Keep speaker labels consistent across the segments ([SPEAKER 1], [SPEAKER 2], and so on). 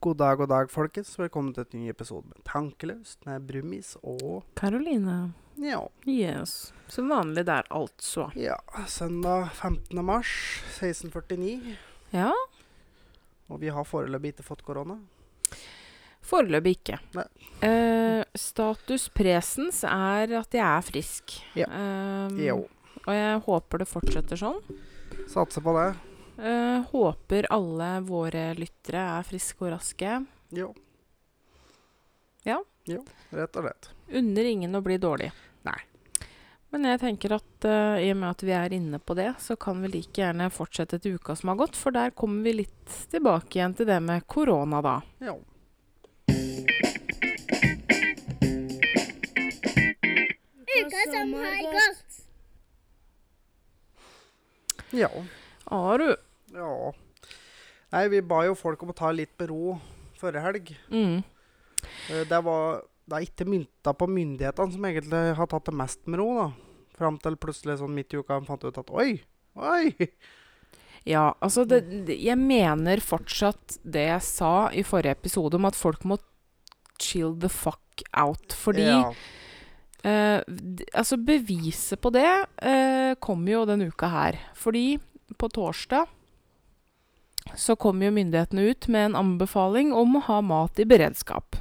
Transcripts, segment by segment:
[SPEAKER 1] God dag, god dag, folkens. Velkommen til et ny episode med Tankelaust med Brumis og
[SPEAKER 2] Karoline.
[SPEAKER 1] ja,
[SPEAKER 2] Yes. Som vanlig der, altså.
[SPEAKER 1] ja, søndag 15. mars 1649.
[SPEAKER 2] Ja.
[SPEAKER 1] Og vi har foreløpig ikke fått korona.
[SPEAKER 2] Foreløpig ikke.
[SPEAKER 1] Nei.
[SPEAKER 2] Eh, status presens er at jeg er frisk.
[SPEAKER 1] Ja.
[SPEAKER 2] Ehm,
[SPEAKER 1] Jo,
[SPEAKER 2] og jeg håper det fortsetter sånn.
[SPEAKER 1] satser på det.
[SPEAKER 2] Eh, håper alle våre lyttere er friske og raske.
[SPEAKER 1] Jo.
[SPEAKER 2] Ja.
[SPEAKER 1] Jo, rett og slett.
[SPEAKER 2] Unner ingen å bli dårlig.
[SPEAKER 1] Nei.
[SPEAKER 2] Men jeg tenker at eh, i og med at vi er inne på det, så kan vi like gjerne fortsette til uka som har gått, for der kommer vi litt tilbake igjen til det med korona, da.
[SPEAKER 1] Jo.
[SPEAKER 3] Uka som har gått.
[SPEAKER 1] Ja.
[SPEAKER 2] Har du?
[SPEAKER 1] ja. Nei, vi ba jo folk om å ta litt med ro forrige helg.
[SPEAKER 2] Mm.
[SPEAKER 1] Eh, Det var det er ikke mynta på myndighetene som egentlig har tatt det mest med ro, da. Fram til plutselig sånn midt i uka fant ut at oi, oi.
[SPEAKER 2] Ja, altså det, det- Jeg mener fortsatt det jeg sa i forrige episode om at folk må chill the fuck out. Fordi
[SPEAKER 1] Ja.
[SPEAKER 2] eh, d- Altså, beviset på det eh, kommer jo denne uka her. Fordi på torsdag så kom jo myndighetene ut med en anbefaling om å ha mat i beredskap.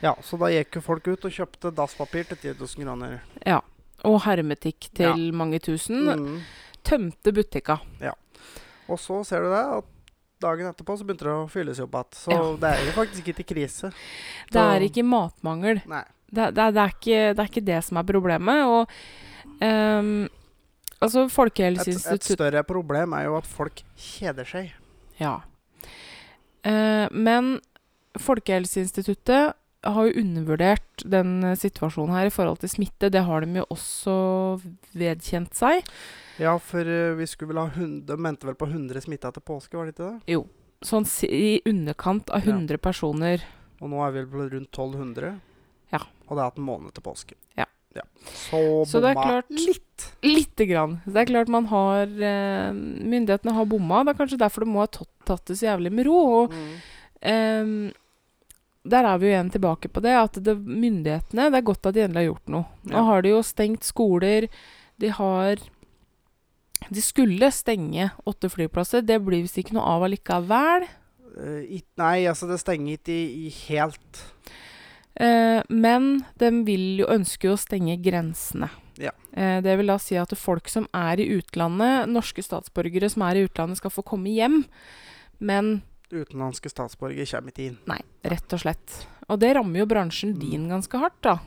[SPEAKER 1] Ja, så da gikk jo folk ut og kjøpte dasspapir til 10 000 kroner.
[SPEAKER 2] Ja. Og hermetikk til mange tusen.
[SPEAKER 1] Mm.
[SPEAKER 2] Tømte butikka.
[SPEAKER 1] Og så ser du det, at dagen etterpå så begynte det å fylles opp igjen. Så
[SPEAKER 2] Ja.
[SPEAKER 1] det er jo faktisk ikke krise.
[SPEAKER 2] Det er
[SPEAKER 1] Så-
[SPEAKER 2] ikke matmangel.
[SPEAKER 1] Nei.
[SPEAKER 2] Det, det, det, er ikke, det er ikke det som er problemet. Og ehm,
[SPEAKER 1] Et,
[SPEAKER 2] altså
[SPEAKER 1] et
[SPEAKER 2] Folkehelseinstituttet
[SPEAKER 1] større problem er jo at folk kjeder seg.
[SPEAKER 2] Ja. Eh, men Folkehelseinstituttet har jo undervurdert den eh, situasjonen her i forhold til smitte. Det har de jo også vedkjent seg.
[SPEAKER 1] Ja, for eh, vi skulle vel ha 100, de mente vel på 100 smitta til påske, var det ikke det?
[SPEAKER 2] Sånn si- i underkant av
[SPEAKER 1] Ja.
[SPEAKER 2] 100 personer.
[SPEAKER 1] Og nå er vi vel på rundt 1200.
[SPEAKER 2] Ja.
[SPEAKER 1] Og det er hatt en måned til påske.
[SPEAKER 2] Ja.
[SPEAKER 1] Så,
[SPEAKER 2] Så det er
[SPEAKER 1] bomma
[SPEAKER 2] klart-
[SPEAKER 1] litt.
[SPEAKER 2] Lite grann. Så det er klart man har eh, Myndighetene har bomma. Det er kanskje derfor det må ha tatt, tatt det så jævlig med ro. Og
[SPEAKER 1] Mm.
[SPEAKER 2] Ehm, der er vi jo igjen tilbake på det, at det, myndighetene Det er godt at de endelig har gjort noe. Nå
[SPEAKER 1] Ja.
[SPEAKER 2] har de jo stengt skoler. De har De skulle stenge åtte flyplasser. Det blir visst ikke noe av allikevel.
[SPEAKER 1] Eh, it, nei, altså det stenger ikke i, i helt.
[SPEAKER 2] Eh, men de vil jo ønsker jo å stenge grensene.
[SPEAKER 1] Ja.
[SPEAKER 2] Eh, det vil da si at folk som er i utlandet, norske statsborgere som er i utlandet, skal få komme hjem. Men
[SPEAKER 1] Utenlandske statsborgere kommer ikke inn.
[SPEAKER 2] nei, rett og slett. Og det rammer jo
[SPEAKER 1] Mm.
[SPEAKER 2] bransjen din ganske hardt, da.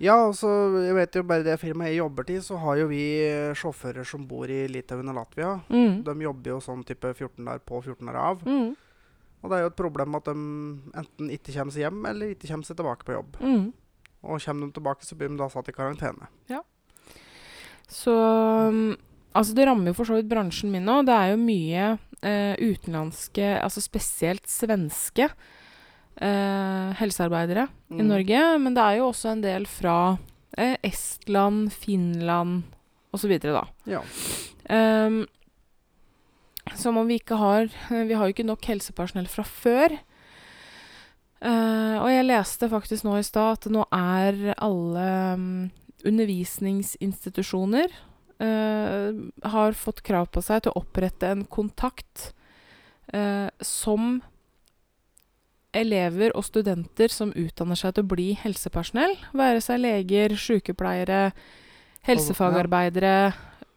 [SPEAKER 1] Ja, altså, jeg vet jo bare det firmaet jeg jobber til, så har jo vi eh, sjåfører som bor i Litauen og Latvia.
[SPEAKER 2] Mm.
[SPEAKER 1] De jobber jo sånn type 14 dager på 14 dager av.
[SPEAKER 2] Mm.
[SPEAKER 1] Og det er jo et problem at de enten ikke kommer seg hjem, eller ikke kommer seg tilbake på jobb.
[SPEAKER 2] Mm.
[SPEAKER 1] Og kommer de tilbake, så blir de da satt i karantene.
[SPEAKER 2] Så um, Altså, det rammer jo for så vidt bransjen min nå. Det er jo mye eh, utenlandske, altså spesielt svenske eh, helsearbeidere i
[SPEAKER 1] Mm.
[SPEAKER 2] Norge. Men det er jo også en del fra eh, Estland, Finland osv., da.
[SPEAKER 1] Ja.
[SPEAKER 2] Um, som om vi ikke har Vi har jo ikke nok helsepersonell fra før. Eh, og jeg leste faktisk nå i stad at nå er alle mm, undervisningsinstitusjoner eh, har fått krav på seg til å opprette en kontakt eh, som elever og studenter som utdanner seg til å bli helsepersonell, være seg leger, sykepleiere, helsefagarbeidere,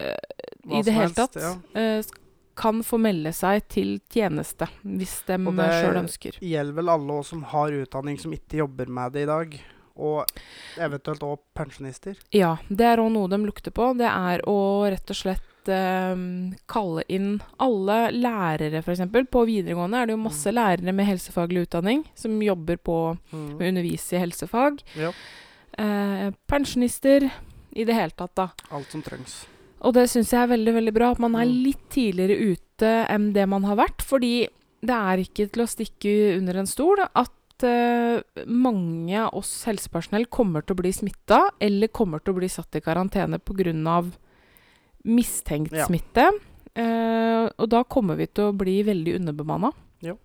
[SPEAKER 1] Hva
[SPEAKER 2] i det
[SPEAKER 1] som
[SPEAKER 2] hele
[SPEAKER 1] helst,
[SPEAKER 2] tatt
[SPEAKER 1] ja.
[SPEAKER 2] eh, sk- kan få melde seg til tjeneste hvis de
[SPEAKER 1] Og det-
[SPEAKER 2] sjøl ønsker.
[SPEAKER 1] Gjelder vel alle oss som har utdanning, som ikke jobber med det i dag. Og eventuelt òg pensjonister.
[SPEAKER 2] Ja, det er òg noe de lukter på. Det er å rett og slett eh, kalle inn alle lærere, f.eks. På videregående er det jo
[SPEAKER 1] Mm.
[SPEAKER 2] masse lærere med helsefaglig utdanning som jobber på
[SPEAKER 1] Mm.
[SPEAKER 2] å undervise i helsefag.
[SPEAKER 1] Ja.
[SPEAKER 2] Eh, pensjonister i det hele tatt, da.
[SPEAKER 1] Alt som trengs.
[SPEAKER 2] Og det syns jeg er veldig, veldig bra, at man er
[SPEAKER 1] Mm.
[SPEAKER 2] litt tidligere ute enn det man har vært. Fordi det er ikke til å stikke under en stol at eh, mange av oss helsepersonell kommer til å bli smitta, eller kommer til å bli satt i karantene pga. mistenkt
[SPEAKER 1] Ja.
[SPEAKER 2] smitte. Eh, og da kommer vi til å bli veldig underbemanna.
[SPEAKER 1] Jo.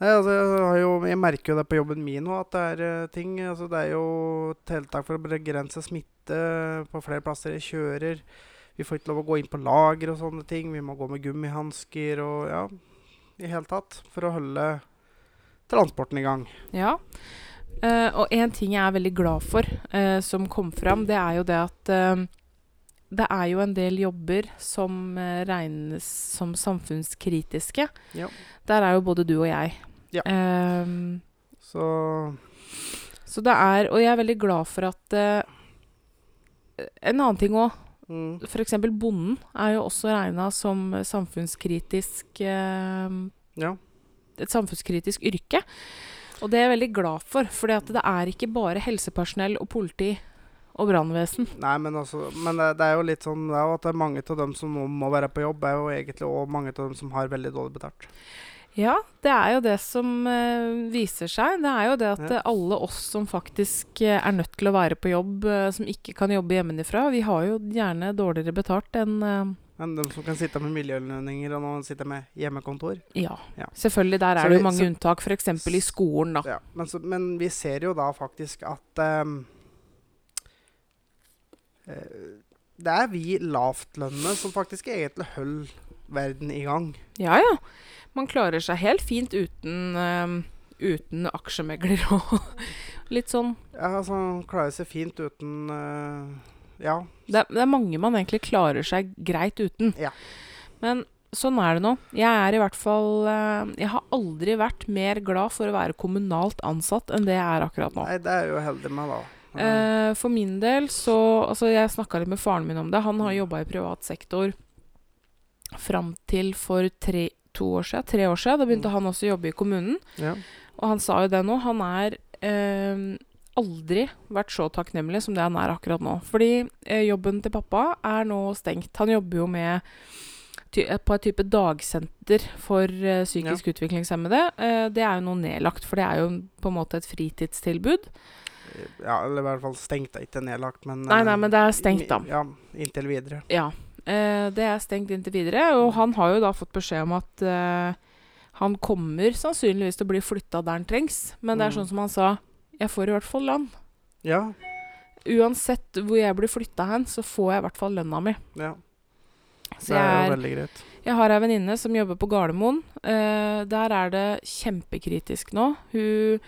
[SPEAKER 1] Nei, altså, jeg, har jo, jeg merker jo det på jobben min òg, at det er eh, ting altså, Det er jo tiltak for å begrense smitte eh, på flere plasser. Jeg kjører. Vi får ikke lov å gå inn på lager og sånne ting. Vi må gå med gummihansker og ja, i hele tatt. For å holde transporten i gang.
[SPEAKER 2] Ja. Eh, og en ting jeg er veldig glad for eh, som kom fram, det er jo det at eh, det er jo en del jobber som eh, regnes som samfunnskritiske.
[SPEAKER 1] Ja.
[SPEAKER 2] Der er jo både du og jeg.
[SPEAKER 1] Ja.
[SPEAKER 2] Eh,
[SPEAKER 1] Så
[SPEAKER 2] så det er Og jeg er veldig glad for at eh, En annen ting òg.
[SPEAKER 1] mm,
[SPEAKER 2] F.eks. bonden er jo også regna som samfunnskritisk eh,
[SPEAKER 1] ja.
[SPEAKER 2] et samfunnskritisk yrke. Og det er jeg veldig glad for, for det er ikke bare helsepersonell og politi og brannvesen.
[SPEAKER 1] Nei, men altså Men det, det er jo litt sånn det er jo at det er mange av dem som nå må være på jobb, er jo egentlig òg mange av dem som har veldig dårlig betalt.
[SPEAKER 2] Ja, det er jo det som eh, viser seg. Det er jo det at
[SPEAKER 1] Ja.
[SPEAKER 2] eh, alle oss som faktisk eh, er nødt til å være på jobb, eh, som ikke kan jobbe hjemmefra, vi har jo gjerne dårligere betalt enn eh,
[SPEAKER 1] Men de som kan sitte med miljølønninger, og noen sitter med hjemmekontor.
[SPEAKER 2] ja.
[SPEAKER 1] Ja.
[SPEAKER 2] Selvfølgelig, der
[SPEAKER 1] Så
[SPEAKER 2] er det
[SPEAKER 1] vi-
[SPEAKER 2] jo mange
[SPEAKER 1] så-
[SPEAKER 2] unntak, f.eks. i skolen, da.
[SPEAKER 1] Ja, men, så, men vi ser jo da faktisk at ehm, eh, Det er vi lavtlønnede som faktisk egentlig holder verden i gang.
[SPEAKER 2] Ja ja. Man klarer seg helt fint uten, eh, uten aksjemegler og litt sånn
[SPEAKER 1] Ja, altså, klarer seg fint uten eh, Ja.
[SPEAKER 2] Det er, det er mange man egentlig klarer seg greit uten.
[SPEAKER 1] Ja.
[SPEAKER 2] Men sånn er det nå. Jeg er i hvert fall eh, Jeg har aldri vært mer glad for å være kommunalt ansatt enn det jeg er akkurat nå.
[SPEAKER 1] Nei, det er jeg jo heldig med, da. Eh,
[SPEAKER 2] Eh, for min del så Altså, jeg snakka litt med faren min om det. Han har jobba i privat sektor fram til for tre, to år siden, tre år siden. Da begynte han også å jobbe i kommunen.
[SPEAKER 1] ja.
[SPEAKER 2] Og han sa jo det nå. Han er eh, aldri vært så takknemlig som det han er akkurat nå. Fordi eh, jobben til pappa er nå stengt. Han jobber jo med ty eh, på et type dagsenter for eh, psykisk utviklingshemmede. Eh, det er jo noe nedlagt, for det er jo på en måte et fritidstilbud.
[SPEAKER 1] ja, eller i hvert fall stengt. Ikke nedlagt, men
[SPEAKER 2] Nei,
[SPEAKER 1] eh,
[SPEAKER 2] nei, men det er stengt, da.
[SPEAKER 1] Ja, inntil videre.
[SPEAKER 2] Ja. Eh, det er stengt inntil videre, og han har jo da fått beskjed om at eh, han kommer sannsynligvis til å bli flytta der han trengs, men det er
[SPEAKER 1] Mm.
[SPEAKER 2] sånn som han sa, jeg får i hvert fall lønn.
[SPEAKER 1] Ja.
[SPEAKER 2] Uansett hvor jeg blir flytta hen, så får jeg i hvert fall lønna mi.
[SPEAKER 1] ja.
[SPEAKER 2] Så
[SPEAKER 1] Det er jo
[SPEAKER 2] jeg, er,
[SPEAKER 1] veldig greit.
[SPEAKER 2] jeg har ei venninne som jobber på Gardermoen. Eh, der er det kjempekritisk nå. Hun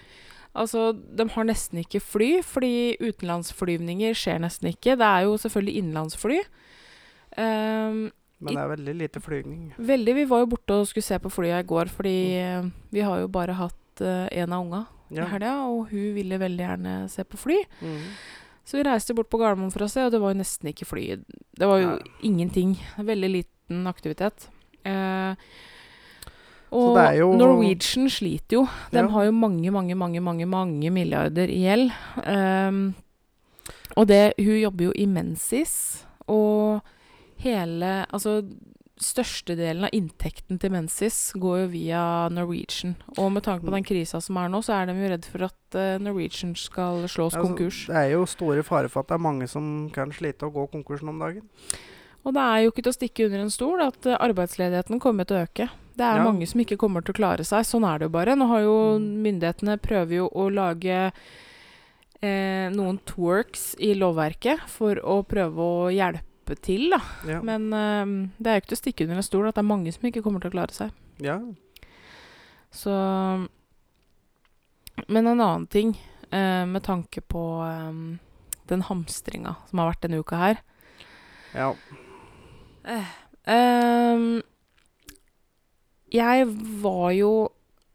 [SPEAKER 2] Altså, de har nesten ikke fly, fordi utenlandsflyvninger skjer nesten ikke. Det er jo selvfølgelig innenlandsfly. Eh,
[SPEAKER 1] Men det er veldig lite flygning.
[SPEAKER 2] veldig Vi var jo borte og skulle se på flya i går, fordi eh, vi har jo bare hatt eh, en av unga
[SPEAKER 1] Mm.
[SPEAKER 2] i
[SPEAKER 1] Ja.
[SPEAKER 2] helga, og hun ville veldig gjerne se på fly.
[SPEAKER 1] Mm.
[SPEAKER 2] Så vi reiste bort på Gardermoen for å se, og det var jo nesten ikke fly. Det var jo
[SPEAKER 1] Nei.
[SPEAKER 2] ingenting. Veldig liten aktivitet. Eh,
[SPEAKER 1] Så
[SPEAKER 2] og
[SPEAKER 1] det er jo-
[SPEAKER 2] Norwegian sliter jo. De
[SPEAKER 1] Ja.
[SPEAKER 2] har jo mange, mange, mange mange, mange milliarder i gjeld. Ehm, og det Hun jobber jo i Mensis, og hele Altså størstedelen av inntekten til Mensis går jo via Norwegian. Og med
[SPEAKER 1] Mm.
[SPEAKER 2] tanke på den krisa som er nå, så er de jo redd for at eh, Norwegian skal slås
[SPEAKER 1] Altså,
[SPEAKER 2] konkurs.
[SPEAKER 1] Det er jo store fare for at det er mange som kan slite og gå konkursen om dagen.
[SPEAKER 2] Og det er jo ikke til å stikke under en stol at eh, arbeidsledigheten kommer til å øke. Det er
[SPEAKER 1] Ja.
[SPEAKER 2] mange som ikke kommer til å klare seg. Sånn er det jo bare. Nå har jo
[SPEAKER 1] Mm.
[SPEAKER 2] myndighetene prøver jo å lage eh, noen twerks i lovverket for å prøve å hjelpe til, da.
[SPEAKER 1] Ja.
[SPEAKER 2] Men eh, det er jo ikke til å stikke under en stol at det er mange som ikke kommer til å klare seg.
[SPEAKER 1] ja.
[SPEAKER 2] Så Men en annen ting eh, med tanke på eh, den hamstringa som har vært denne uka her.
[SPEAKER 1] ja.
[SPEAKER 2] Ehm, jeg var jo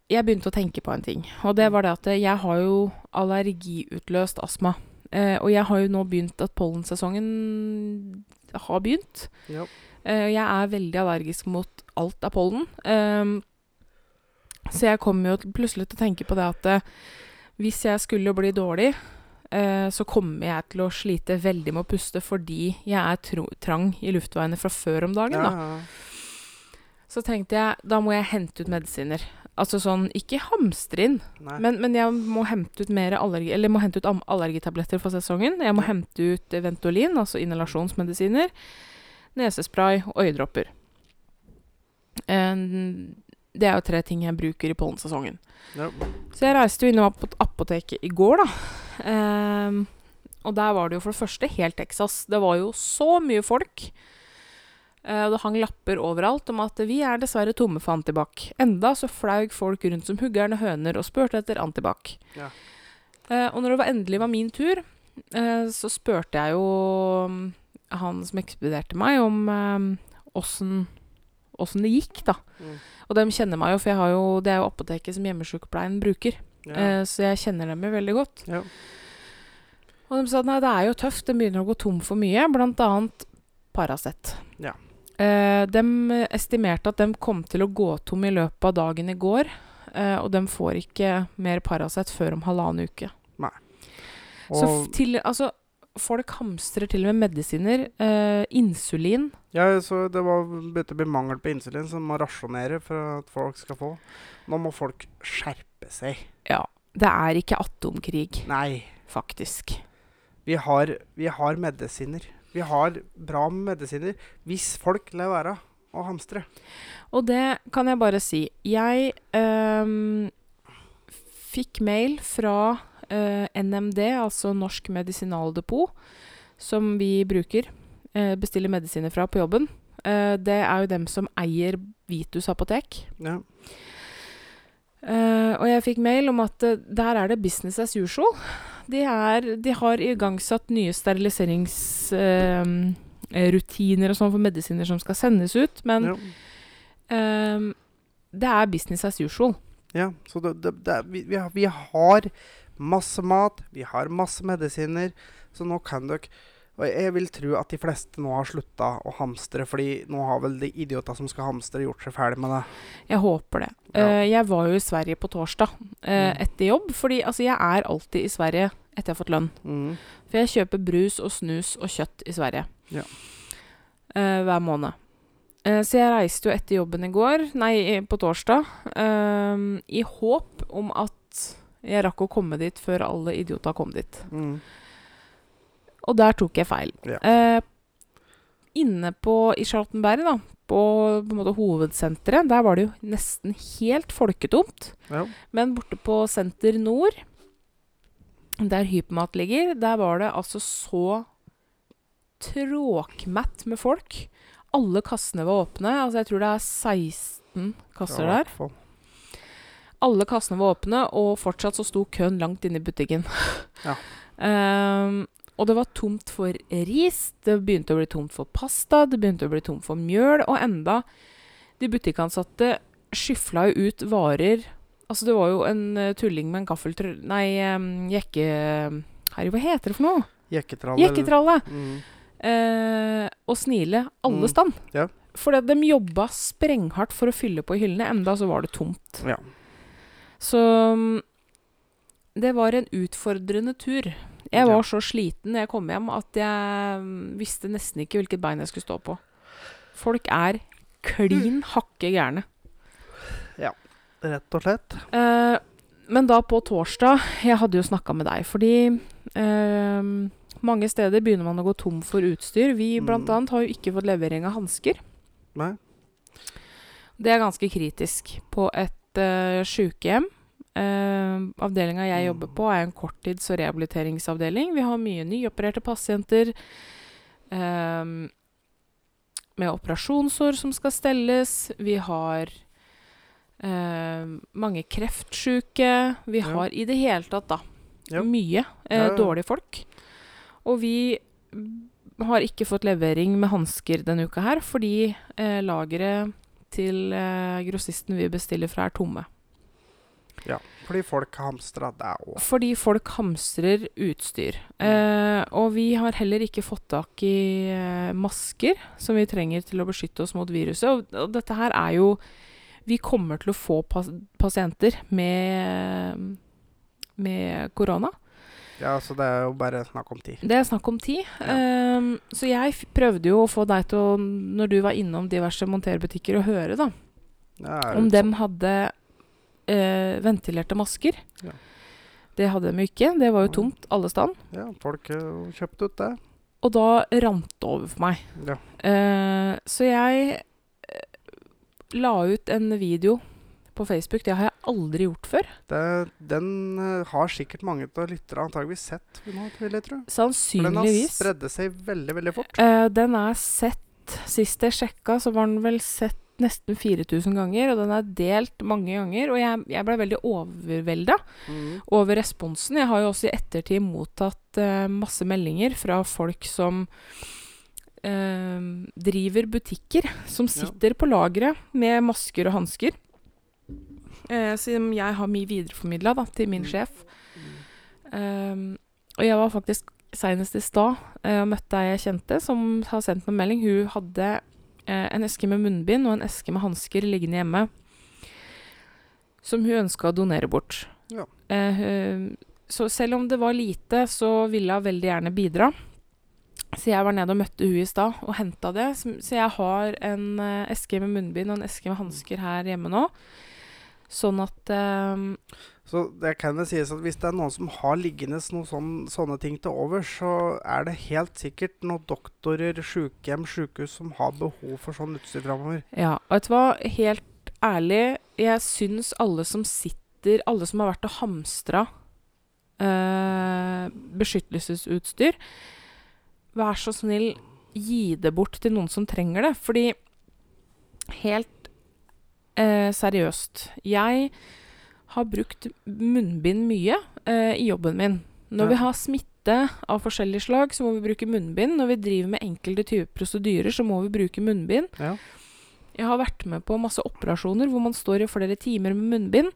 [SPEAKER 2] Jeg begynte å tenke på en ting. Og det var det at jeg har jo allergiutløst astma. Eh, og jeg har jo nå begynt at pollensesongen har begynt.
[SPEAKER 1] Ja.
[SPEAKER 2] Eh, jeg er veldig allergisk mot alt av pollen. Ehm, så jeg kom jo til- plutselig til å tenke på det at eh, hvis jeg skulle bli dårlig, eh, så kommer jeg til å slite veldig med å puste fordi jeg er tro trang i luftveiene fra før om dagen.
[SPEAKER 1] ja.
[SPEAKER 2] da. Så tenkte jeg, da må jeg hente ut medisiner. Altså sånn, ikke hamstre inn,
[SPEAKER 1] Nei.
[SPEAKER 2] men, men jeg må hente ut mer allergi, eller må hente ut am- allergitabletter for sesongen. Jeg må hente ut eh, Ventolin, altså inhalasjonsmedisiner, nesespray og øyedropper. En- Eh, Det er jo tre ting jeg bruker i pollensesongen.
[SPEAKER 1] Ja.
[SPEAKER 2] Så jeg reiste jo innom ap- apoteket i går, da. Ehm, og der var det jo for det første helt Texas. Det var jo så mye folk. Eh, Og det hang lapper overalt om at vi er dessverre tomme for antibac. Enda så flaug folk rundt som huggerne høner og spurte etter antibac.
[SPEAKER 1] Ja.
[SPEAKER 2] Eh, og når det var endelig var min tur, eh, så spurte jeg jo mm, han som ekspederte meg, om eh, åssen det gikk, da.
[SPEAKER 1] Mm.
[SPEAKER 2] Og dem kjenner meg jo, for jeg har jo, det er jo apoteket som hjemmesykepleien bruker.
[SPEAKER 1] Ja.
[SPEAKER 2] Eh, Så jeg kjenner dem jo veldig godt.
[SPEAKER 1] Ja.
[SPEAKER 2] Og de sa at nei, det er jo tøft, de begynner å gå tom for mye, blant annet Paracet.
[SPEAKER 1] Ja.
[SPEAKER 2] Eh, de estimerte at de kom til å gå tom i løpet av dagen i går, eh, og de får ikke mer Paracet før om halvannen uke. Så
[SPEAKER 1] Og,
[SPEAKER 2] f- til, altså, folk hamstrer til og med medisiner, eh, insulin,
[SPEAKER 1] ja, så det var begynte å bli mangel på insulin, så man må rasjonere for at folk skal få. Nå må folk skjerpe seg.
[SPEAKER 2] ja, det er ikke atomkrig,
[SPEAKER 1] Nei.
[SPEAKER 2] faktisk.
[SPEAKER 1] Vi har, vi har medisiner. Vi har bra med medisiner hvis folk lar være å hamstre.
[SPEAKER 2] Og det kan jeg bare si. Jeg ehm, fikk mail fra eh, NMD, altså Norsk Medisinaldepot, som vi bruker. eh, bestiller medisiner fra på jobben. Eh, det er jo dem som eier Vitus apotek.
[SPEAKER 1] Ja.
[SPEAKER 2] Eh, og jeg fikk mail om at eh, der er det business as usual. De, er, de har igangsatt nye steriliseringsrutiner og sånn for medisiner som skal sendes ut, men
[SPEAKER 1] ja.
[SPEAKER 2] Ehm, det er business as usual.
[SPEAKER 1] Ja, så det, det, det, er- vi, vi, har, vi har masse mat, vi har masse medisiner, så nå kan dere Og jeg vil tro at de fleste nå har slutta å hamstre, fordi nå har vel de idioter som skal hamstre, gjort seg ferdig med det.
[SPEAKER 2] Jeg håper det.
[SPEAKER 1] Ja.
[SPEAKER 2] Eh, jeg var jo i Sverige på torsdag eh,
[SPEAKER 1] Mm.
[SPEAKER 2] etter jobb, fordi altså, jeg er alltid i Sverige etter jeg har fått lønn.
[SPEAKER 1] Mm.
[SPEAKER 2] For jeg kjøper brus og snus og kjøtt i Sverige
[SPEAKER 1] Ja.
[SPEAKER 2] Eh, hver måned. Eh, så jeg reiste jo etter jobben i går, nei, i- på torsdag, ehm, i håp om at jeg rakk å komme dit før alle idiota kom dit.
[SPEAKER 1] Mm.
[SPEAKER 2] Og der tok jeg feil.
[SPEAKER 1] Ja.
[SPEAKER 2] Eh, inne på, i Charlottenberg, da, på, på en måte hovedsenteret, der var det jo nesten helt folketomt.
[SPEAKER 1] Ja.
[SPEAKER 2] Men borte på Senter Nord, der Hypermat ligger, der var det altså så tråkmatt med folk. Alle kassene var åpne. Altså, jeg tror det er 16 kasser
[SPEAKER 1] Ja, i
[SPEAKER 2] der.
[SPEAKER 1] hvert fall.
[SPEAKER 2] Alle kassene var åpne, og fortsatt så sto køen langt inne i butikken.
[SPEAKER 1] Ja.
[SPEAKER 2] Ehm, og det var tomt for ris, det begynte å bli tomt for pasta, det begynte å bli tomt for mjøl, og enda de butikkansatte skyfla jo ut varer Altså, det var jo en eh, tulling med en gaffeltrø... Nei, em, jekke... Herre, hva heter det for noe?
[SPEAKER 1] Jekketrall. eller-
[SPEAKER 2] Jekketralle!
[SPEAKER 1] Mm.
[SPEAKER 2] Eh, og snile alle
[SPEAKER 1] Mm.
[SPEAKER 2] stand.
[SPEAKER 1] Ja.
[SPEAKER 2] For de jobba sprenghardt for å fylle på hyllene, enda så var det tomt.
[SPEAKER 1] Ja.
[SPEAKER 2] Så mm, det var en utfordrende tur. Jeg
[SPEAKER 1] Ja.
[SPEAKER 2] var så sliten da jeg kom hjem at jeg mm, visste nesten ikke hvilket bein jeg skulle stå på. Folk er
[SPEAKER 1] Mm.
[SPEAKER 2] klin hakke gærne.
[SPEAKER 1] Rett og slett.
[SPEAKER 2] Eh, men da på torsdag Jeg hadde jo snakka med deg, fordi eh, mange steder begynner man å gå tom for utstyr. Vi blant
[SPEAKER 1] Mm.
[SPEAKER 2] annet har jo ikke fått levering av hansker.
[SPEAKER 1] Nei.
[SPEAKER 2] Det er ganske kritisk. På et uh, sjukehjem uh, Avdelinga jeg jobber
[SPEAKER 1] Mm.
[SPEAKER 2] på, er en korttids- og rehabiliteringsavdeling. Vi har mye nyopererte pasienter. eh, med operasjonssår som skal stelles. Vi har eh, mange kreftsjuke. Vi
[SPEAKER 1] Ja.
[SPEAKER 2] har i det hele tatt, da,
[SPEAKER 1] Ja.
[SPEAKER 2] mye eh,
[SPEAKER 1] Ja, ja.
[SPEAKER 2] dårlige folk. Og vi mm, har ikke fått levering med hansker denne uka her, fordi eh, lageret til eh, grossisten vi bestiller fra, er tomme.
[SPEAKER 1] Ja. Fordi folk hamstra det òg.
[SPEAKER 2] Fordi folk hamstrer utstyr. Eh, og vi har heller ikke fått tak i eh, masker som vi trenger til å beskytte oss mot viruset. Og, og dette her er jo Vi kommer til å få pas pasienter med, med korona.
[SPEAKER 1] Ja, så det er jo bare snakk om tid.
[SPEAKER 2] Det er snakk om tid. Ehm, så jeg f prøvde jo å få deg til å, når du var innom diverse monterbutikker, å høre da,
[SPEAKER 1] Det er
[SPEAKER 2] om
[SPEAKER 1] jo
[SPEAKER 2] dem hadde eh, ventilerte masker.
[SPEAKER 1] Ja.
[SPEAKER 2] Det hadde de jo ikke. Det var jo tomt alle steder.
[SPEAKER 1] sånn. Ja, folk eh, kjøpte ut det.
[SPEAKER 2] Og da rant det over for meg.
[SPEAKER 1] Ja.
[SPEAKER 2] Eh, så jeg eh, la ut en video på Facebook. Det har jeg aldri gjort før.
[SPEAKER 1] Det, den eh, har sikkert mange av lyttere antageligvis sett, nå, vil jeg tro. For den har
[SPEAKER 2] Sannsynligvis.
[SPEAKER 1] spredde seg veldig, veldig fort.
[SPEAKER 2] Eh, den er sett Sist jeg sjekka, så var den vel sett nesten 4000 ganger, og den er delt mange ganger. Og jeg, jeg ble veldig overvelda
[SPEAKER 1] Mm.
[SPEAKER 2] over responsen. Jeg har jo også i ettertid mottatt eh, masse meldinger fra folk som eh, driver butikker, som
[SPEAKER 1] Ja.
[SPEAKER 2] sitter på lageret med masker og hansker. Eh, som jeg har mye videreformidla til min
[SPEAKER 1] Mm.
[SPEAKER 2] sjef. Eh, og jeg var faktisk seinest i stad eh, og møtte ei jeg kjente som har sendt meg en melding. Hun hadde eh, en eske med munnbind og en eske med hansker liggende hjemme som hun ønska å donere bort.
[SPEAKER 1] Ja.
[SPEAKER 2] Eh, hun- så selv om det var lite, så ville hun veldig gjerne bidra. Så jeg var nede og møtte hun i stad og henta det. Så, så jeg har en eh, eske med munnbind og en eske med hansker her hjemme nå. Sånn at eh,
[SPEAKER 1] Så det kan vel sies at hvis det er noen som har liggende noen sånn, sånne ting til over, så er det helt sikkert noen doktorer, sykehjem, sykehus som har behov for sånn utstyr framover.
[SPEAKER 2] Ja, og vet du hva? Helt ærlig, jeg syns alle som sitter, alle som har vært og hamstra eh, beskyttelsesutstyr, vær så snill, gi det bort til noen som trenger det. Fordi helt eh, seriøst, jeg har brukt munnbind mye eh, i jobben min. Når
[SPEAKER 1] Ja.
[SPEAKER 2] vi har smitte av forskjellig slag, så må vi bruke munnbind. Når vi driver med enkelte typer prosedyrer, så må vi bruke munnbind.
[SPEAKER 1] Ja.
[SPEAKER 2] Jeg har vært med på masse operasjoner hvor man står i flere timer med munnbind.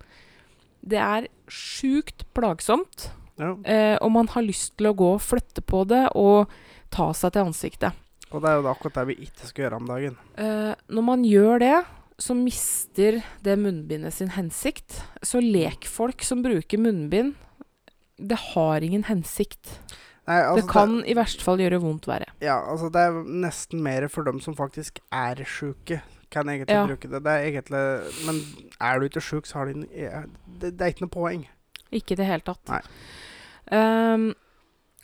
[SPEAKER 2] Det er sjukt plagsomt,
[SPEAKER 1] Ja.
[SPEAKER 2] eh, og man har lyst til å gå og flytte på det og ta seg til ansiktet.
[SPEAKER 1] Og det er jo da akkurat det vi ikke skal gjøre om dagen.
[SPEAKER 2] Eh, når man gjør det, så mister det munnbindet sin hensikt. Så lekfolk som bruker munnbind, det har ingen hensikt.
[SPEAKER 1] Nei, altså,
[SPEAKER 2] det kan i verste fall gjøre vondt verre.
[SPEAKER 1] Ja, altså det er nesten mer for dem som faktisk er sjuke, kan jeg egentlig
[SPEAKER 2] Ja.
[SPEAKER 1] bruke det. Det er egentlig Men er du ikke sjuk, så har du en- eh, det, det er ikke noe poeng.
[SPEAKER 2] Ikke i det hele tatt.
[SPEAKER 1] Nei.
[SPEAKER 2] Ehm,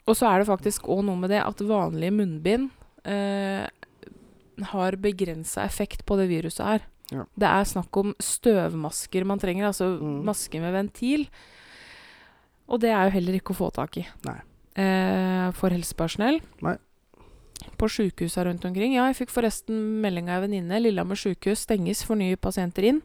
[SPEAKER 2] og så er det faktisk òg noe med det at vanlige munnbind eh, har begrensa effekt på det viruset her.
[SPEAKER 1] Ja.
[SPEAKER 2] Det er snakk om støvmasker man trenger, altså
[SPEAKER 1] Mm.
[SPEAKER 2] masker med ventil. Og det er jo heller ikke å få tak i
[SPEAKER 1] Nei.
[SPEAKER 2] Eh, for helsepersonell.
[SPEAKER 1] Nei.
[SPEAKER 2] På sjukehusa rundt omkring. Ja, jeg fikk forresten melding av ei venninne. Lillehammer sjukehus stenges for nye pasienter inn.